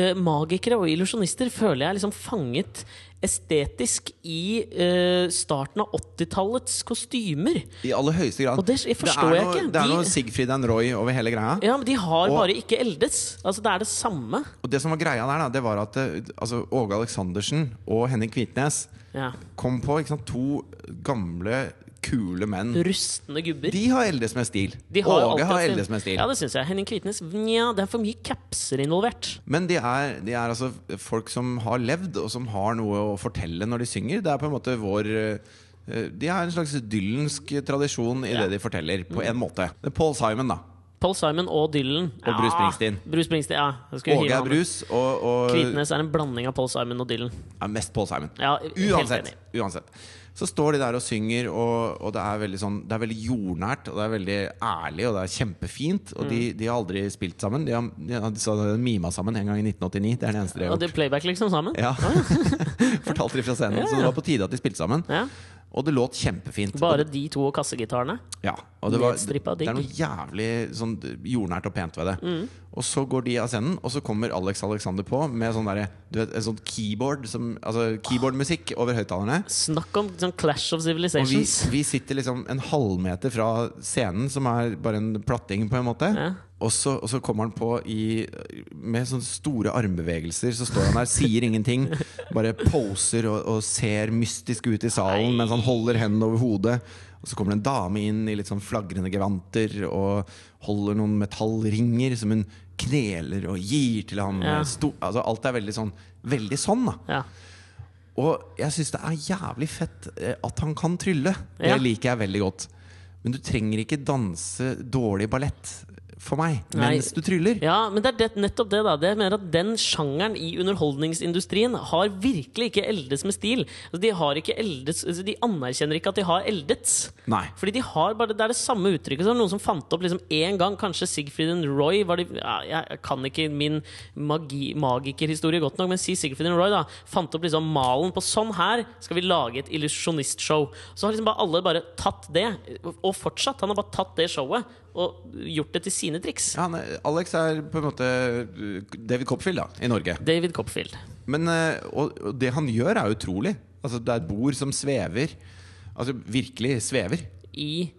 [SPEAKER 2] eh, magikere og illusjonister føler jeg er liksom fanget estetisk i eh, starten av 80-tallets kostymer.
[SPEAKER 1] I aller høyeste grad.
[SPEAKER 2] Og det forstår
[SPEAKER 1] er
[SPEAKER 2] jeg
[SPEAKER 1] noe,
[SPEAKER 2] ikke.
[SPEAKER 1] Det er
[SPEAKER 2] De-
[SPEAKER 1] noe Sigfrid and Roy over hele greia.
[SPEAKER 2] Ja, men de har
[SPEAKER 1] Og-
[SPEAKER 2] bare ikke eldes. Altså, det er det samme.
[SPEAKER 1] Og det som var greia der, da, det var at eh, altså, Åge Aleksandersen og Henning Kvitnes
[SPEAKER 2] Ja.
[SPEAKER 1] kom på ikke sant, to gamle, kule menn.
[SPEAKER 2] Rustne gubber.
[SPEAKER 1] De har eldes med stil.
[SPEAKER 2] De har jo alltid
[SPEAKER 1] Åge har
[SPEAKER 2] hatt sin-
[SPEAKER 1] eldes med stil.
[SPEAKER 2] Ja, det syns jeg. Henning Kvitnes Nja, det er for mye capser involvert.
[SPEAKER 1] Men de er, de er altså folk som har levd, og som har noe å fortelle når de synger. Det er på en måte vår eh, De har en slags dylansk tradisjon i
[SPEAKER 2] Ja.
[SPEAKER 1] det
[SPEAKER 2] Mm.
[SPEAKER 1] de forteller, på en måte. Det er Paul Simon, da.
[SPEAKER 2] Paul Simon og Dylan.
[SPEAKER 1] Og Bruce Springsteen.
[SPEAKER 2] Ja, Bruce Springsteen, ja. Jeg skulle hive
[SPEAKER 1] Åge
[SPEAKER 2] han
[SPEAKER 1] er
[SPEAKER 2] med.
[SPEAKER 1] brus, og, og
[SPEAKER 2] Kvitnes er en blanding av Paul Simon og Dylan.
[SPEAKER 1] er mest Paul Simon.
[SPEAKER 2] Ja, helt
[SPEAKER 1] uansett,
[SPEAKER 2] enig.
[SPEAKER 1] uansett. Så står de der og synger, og, og det, er veldig sånn, det er veldig jordnært, og det er veldig ærlig, og det er kjempefint.
[SPEAKER 2] Mm.
[SPEAKER 1] Og de, de har aldri spilt sammen. De har, de har så de mima sammen en gang i 1989. Det er det eneste de har
[SPEAKER 2] Og det
[SPEAKER 1] gjort.
[SPEAKER 2] er playback liksom sammen?
[SPEAKER 1] Ja. Fortalte de fra scenen. Så det var på tide at de spilte sammen.
[SPEAKER 2] Ja.
[SPEAKER 1] Og det låt kjempefint.
[SPEAKER 2] Bare de to og kassegitarene?
[SPEAKER 1] Ja, og det, var, det,
[SPEAKER 2] Nedstrippa digg. Mm.
[SPEAKER 1] er noe jævlig sånn jordnært og pent ved det. Og så går de av scenen, og så kommer Alex Alexander på med sånn derre Du vet, en sånn keyboard som, Altså keyboardmusikk over høyttalerne.
[SPEAKER 2] Snakk om sånn Clash of
[SPEAKER 1] Og vi,
[SPEAKER 2] Civilizations.
[SPEAKER 1] vi sitter liksom en halvmeter fra scenen, som er bare en platting, på en måte.
[SPEAKER 2] Ja.
[SPEAKER 1] Og, så, og så kommer han på i, med sånne store armbevegelser. Så står han der, sier ingenting. Bare poser og, og ser mystisk ut i salen mens han holder hendene over hodet. Og så kommer det en dame inn i litt sånn flagrende gevanter og holder noen metallringer som hun kneler og gir til ham.
[SPEAKER 2] Ja.
[SPEAKER 1] Sto, altså alt er veldig sånn, veldig sånn, da.
[SPEAKER 2] Ja.
[SPEAKER 1] Og jeg syns det er jævlig fett eh, at han kan trylle. Det
[SPEAKER 2] Ja.
[SPEAKER 1] liker jeg veldig godt. Men du trenger ikke danse dårlig ballett for meg
[SPEAKER 2] Nei.
[SPEAKER 1] mens du tryller.
[SPEAKER 2] ja, men det er det, nettopp det, da. Det jeg mener at Den sjangeren i underholdningsindustrien har virkelig ikke eldes med stil. Altså, de, har ikke eldes, altså, de anerkjenner ikke at de har eldets.
[SPEAKER 1] Nei.
[SPEAKER 2] Fordi de har bare, Det er det samme uttrykket som noen som fant opp liksom en gang. Kanskje Sigfrid and Roy var de, ja, Jeg kan ikke min magi, magikerhistorie godt nok, men si Sigfrid and Roy da fant opp liksom malen på sånn her skal vi lage et illusjonistshow. Så har liksom bare alle bare tatt det, og fortsatt. Han har bare tatt det showet og gjort det til sine triks.
[SPEAKER 1] Ja, nei, Alex er på en måte uh, David Copfield da, i Norge.
[SPEAKER 2] David Copfield.
[SPEAKER 1] Men, eh, og, og det han gjør, er utrolig. Altså, det er et bord som svever. Altså virkelig svever
[SPEAKER 2] I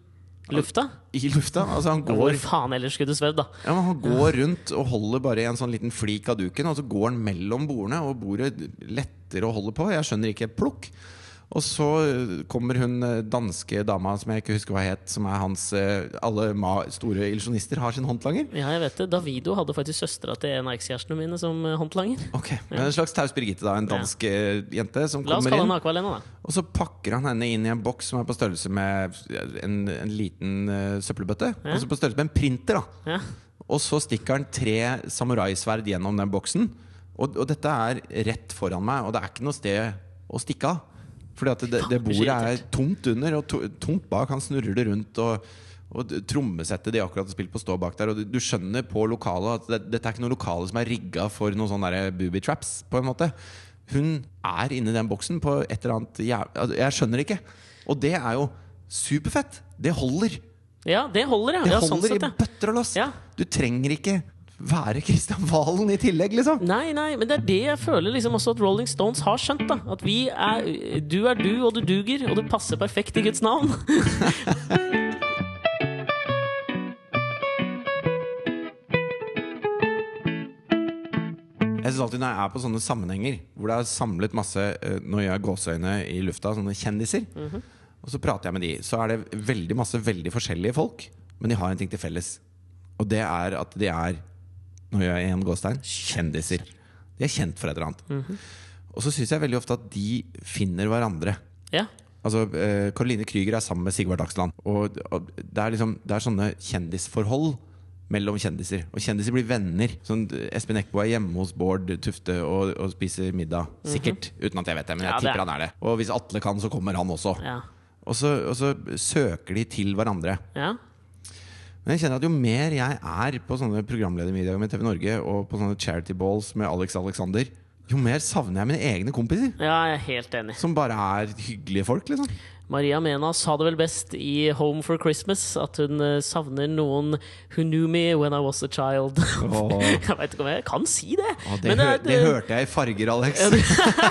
[SPEAKER 2] lufta?
[SPEAKER 1] i lufta. Altså, han
[SPEAKER 2] Hvor
[SPEAKER 1] går
[SPEAKER 2] faen ellers skulle det svevd, da?
[SPEAKER 1] Ja, men Han går rundt og holder bare i en sånn liten flik av duken, og så går han mellom bordene, og bordet letter å holde på. Jeg skjønner ikke et plukk. Og så øh, kommer hun øh, danske dama som jeg ikke husker hva het, som er hans øh, Alle ma store illusjonister har sin håndlanger.
[SPEAKER 2] Ja, jeg vet det. Davido hadde faktisk søstera til en av ekskjærestene mine som eh, håndlanger.
[SPEAKER 1] Ok, men En slags Taus Birgitte, da. En dansk øh, jente som
[SPEAKER 2] La oss
[SPEAKER 1] kommer
[SPEAKER 2] kalle
[SPEAKER 1] inn.
[SPEAKER 2] henne Aqualena, da.
[SPEAKER 1] Og så pakker han henne inn i en boks som er på størrelse med eh, en, en liten øh, søppelbøtte. Altså på størrelse med en printer, da.
[SPEAKER 2] Ja.
[SPEAKER 1] Og så stikker han tre samuraisverd gjennom den boksen. Og, og dette er rett foran meg, og det er ikke noe sted å stikke av. Fordi at det, det
[SPEAKER 2] Faen, jeg blir så
[SPEAKER 1] bordet er tomt under og to, tomt bak. Han snurrer det rundt. Og, og d- trommesettet de akkurat har spilt på, står bak der. Og du, du skjønner på lokalet at det, dette er ikke noe lokale som er rigga for noen sånne der booby traps. På en måte Hun er inni den boksen på et eller annet jæv- altså, Jeg skjønner ikke. Og det er jo superfett! Det holder.
[SPEAKER 2] Ja, det holder, ja.
[SPEAKER 1] Det
[SPEAKER 2] ja, sånn
[SPEAKER 1] holder
[SPEAKER 2] sett,
[SPEAKER 1] i
[SPEAKER 2] ja.
[SPEAKER 1] bøtter og lass.
[SPEAKER 2] Ja.
[SPEAKER 1] Du trenger ikke være Kristian Valen i tillegg, liksom?
[SPEAKER 2] Nei, nei, men det er det jeg føler liksom også at Rolling Stones har skjønt. da At vi er Du er du, og du duger, og du passer perfekt i Guds navn.
[SPEAKER 1] Jeg synes alltid Når jeg er på sånne sammenhenger hvor det er samlet masse eh, Når jeg har gåseøyne i lufta, sånne kjendiser,
[SPEAKER 2] Mhm.
[SPEAKER 1] og så prater jeg med de, så er det veldig masse veldig forskjellige folk, men de har en ting til felles. Og det er at de er Når jeg er i en gåstein kjendiser. De er kjent for et eller annet.
[SPEAKER 2] Mhm.
[SPEAKER 1] Og så syns jeg veldig ofte at de finner hverandre.
[SPEAKER 2] Ja,
[SPEAKER 1] Altså, eh, Caroline Krüger er sammen med Sigvard Dagsland. Og, og det, er liksom, det er sånne kjendisforhold mellom kjendiser. Og kjendiser blir venner. Sånn, Espen Eckbo er hjemme hos Bård Tufte og, og spiser middag. Sikkert. Uten at jeg vet det, men jeg
[SPEAKER 2] Mhm. Ja, det
[SPEAKER 1] tipper
[SPEAKER 2] er-
[SPEAKER 1] han er det. Og hvis Atle kan, så kommer han også.
[SPEAKER 2] ja,
[SPEAKER 1] Og så, og så søker de til hverandre.
[SPEAKER 2] ja.
[SPEAKER 1] Men jeg kjenner at jo mer jeg er på sånne programledermiddager med TV Norge og på sånne charity balls med Alex Alexander, jo mer savner jeg mine egne kompiser.
[SPEAKER 2] ja jeg er helt enig.
[SPEAKER 1] Som bare er hyggelige folk, liksom.
[SPEAKER 2] Maria Mena sa det vel best i Home for Christmas, at hun eh, savner noen who knew me when I was a child.
[SPEAKER 1] Åh.
[SPEAKER 2] Jeg vet ikke om jeg kan si det!
[SPEAKER 1] Ja, det,
[SPEAKER 2] men eh, det,
[SPEAKER 1] hø
[SPEAKER 2] er-
[SPEAKER 1] det hørte jeg i farger, Alex.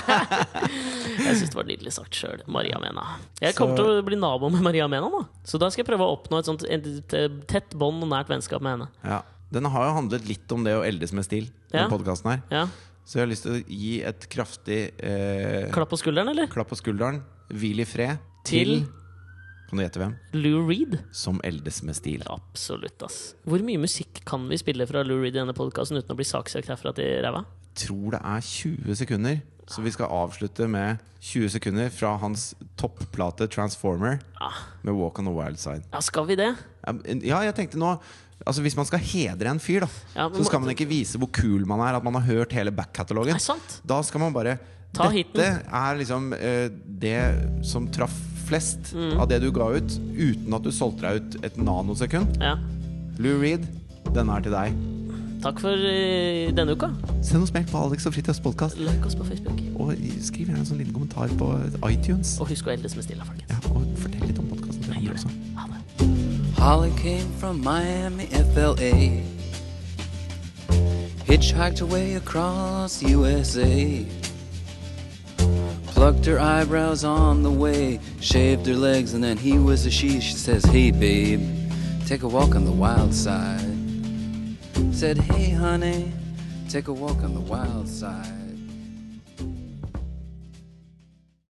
[SPEAKER 2] Jeg syns det var nydelig sagt sjøl. Maria Mena. Jeg kommer til å bli nabo med Maria Mena, nå. Så da skal jeg prøve å oppnå et sånt et, et tett bånd og nært vennskap med henne.
[SPEAKER 1] Ja. Den har jo handlet litt om det å eldes med stil,
[SPEAKER 2] Ja.
[SPEAKER 1] den podcasten her.
[SPEAKER 2] Ja.
[SPEAKER 1] Så jeg har lyst til å gi et kraftig eh,
[SPEAKER 2] Klapp på skulderen, eller?
[SPEAKER 1] klapp på skulderen, hvil i fred, til
[SPEAKER 2] Til
[SPEAKER 1] Kan du gjette hvem?
[SPEAKER 2] Lou Reed.
[SPEAKER 1] Som eldes med stil.
[SPEAKER 2] Absolutt, ass. Hvor mye musikk kan vi spille fra Lou Reed i denne podkasten uten å bli saksøkt herfra til ræva?
[SPEAKER 1] Tror det er 20 sekunder, så vi skal avslutte med 20 sekunder fra hans topplate 'Transformer'
[SPEAKER 2] Ah.
[SPEAKER 1] med 'Walk on the Wild Side'.
[SPEAKER 2] Ja, skal vi det?
[SPEAKER 1] Ja, jeg tenkte nå Altså Hvis man skal hedre en fyr, da,
[SPEAKER 2] Ja, men
[SPEAKER 1] så skal
[SPEAKER 2] må-
[SPEAKER 1] man ikke vise hvor kul man er, at man har hørt hele
[SPEAKER 2] Er
[SPEAKER 1] back-katalogen.
[SPEAKER 2] det sant?
[SPEAKER 1] Da skal man bare
[SPEAKER 2] Ta
[SPEAKER 1] Dette
[SPEAKER 2] hiten.
[SPEAKER 1] er liksom eh, det som traff flest
[SPEAKER 2] Mm.
[SPEAKER 1] av det du ga ut, uten at du solgte deg ut et nanosekund.
[SPEAKER 2] Ja.
[SPEAKER 1] Lou Reed, denne er til deg.
[SPEAKER 2] Takk for eh, denne uka.
[SPEAKER 1] Send oss mail på Alex og Fritjofs podkast,
[SPEAKER 2] Like oss på Facebook.
[SPEAKER 1] og skriv gjerne en sånn liten kommentar på iTunes.
[SPEAKER 2] Og husk å eldes med stilla, folkens.
[SPEAKER 1] Ja, og fortell litt om podkasten til andre også.
[SPEAKER 2] Ha det.
[SPEAKER 3] Holly came from Miami, FLA. Hitchhiked her way across USA. Plucked her eyebrows on the way, shaved her legs, and then he was a she. She says, Hey, babe, take a walk on the wild side. Said, Hey, honey, take a walk on the wild side.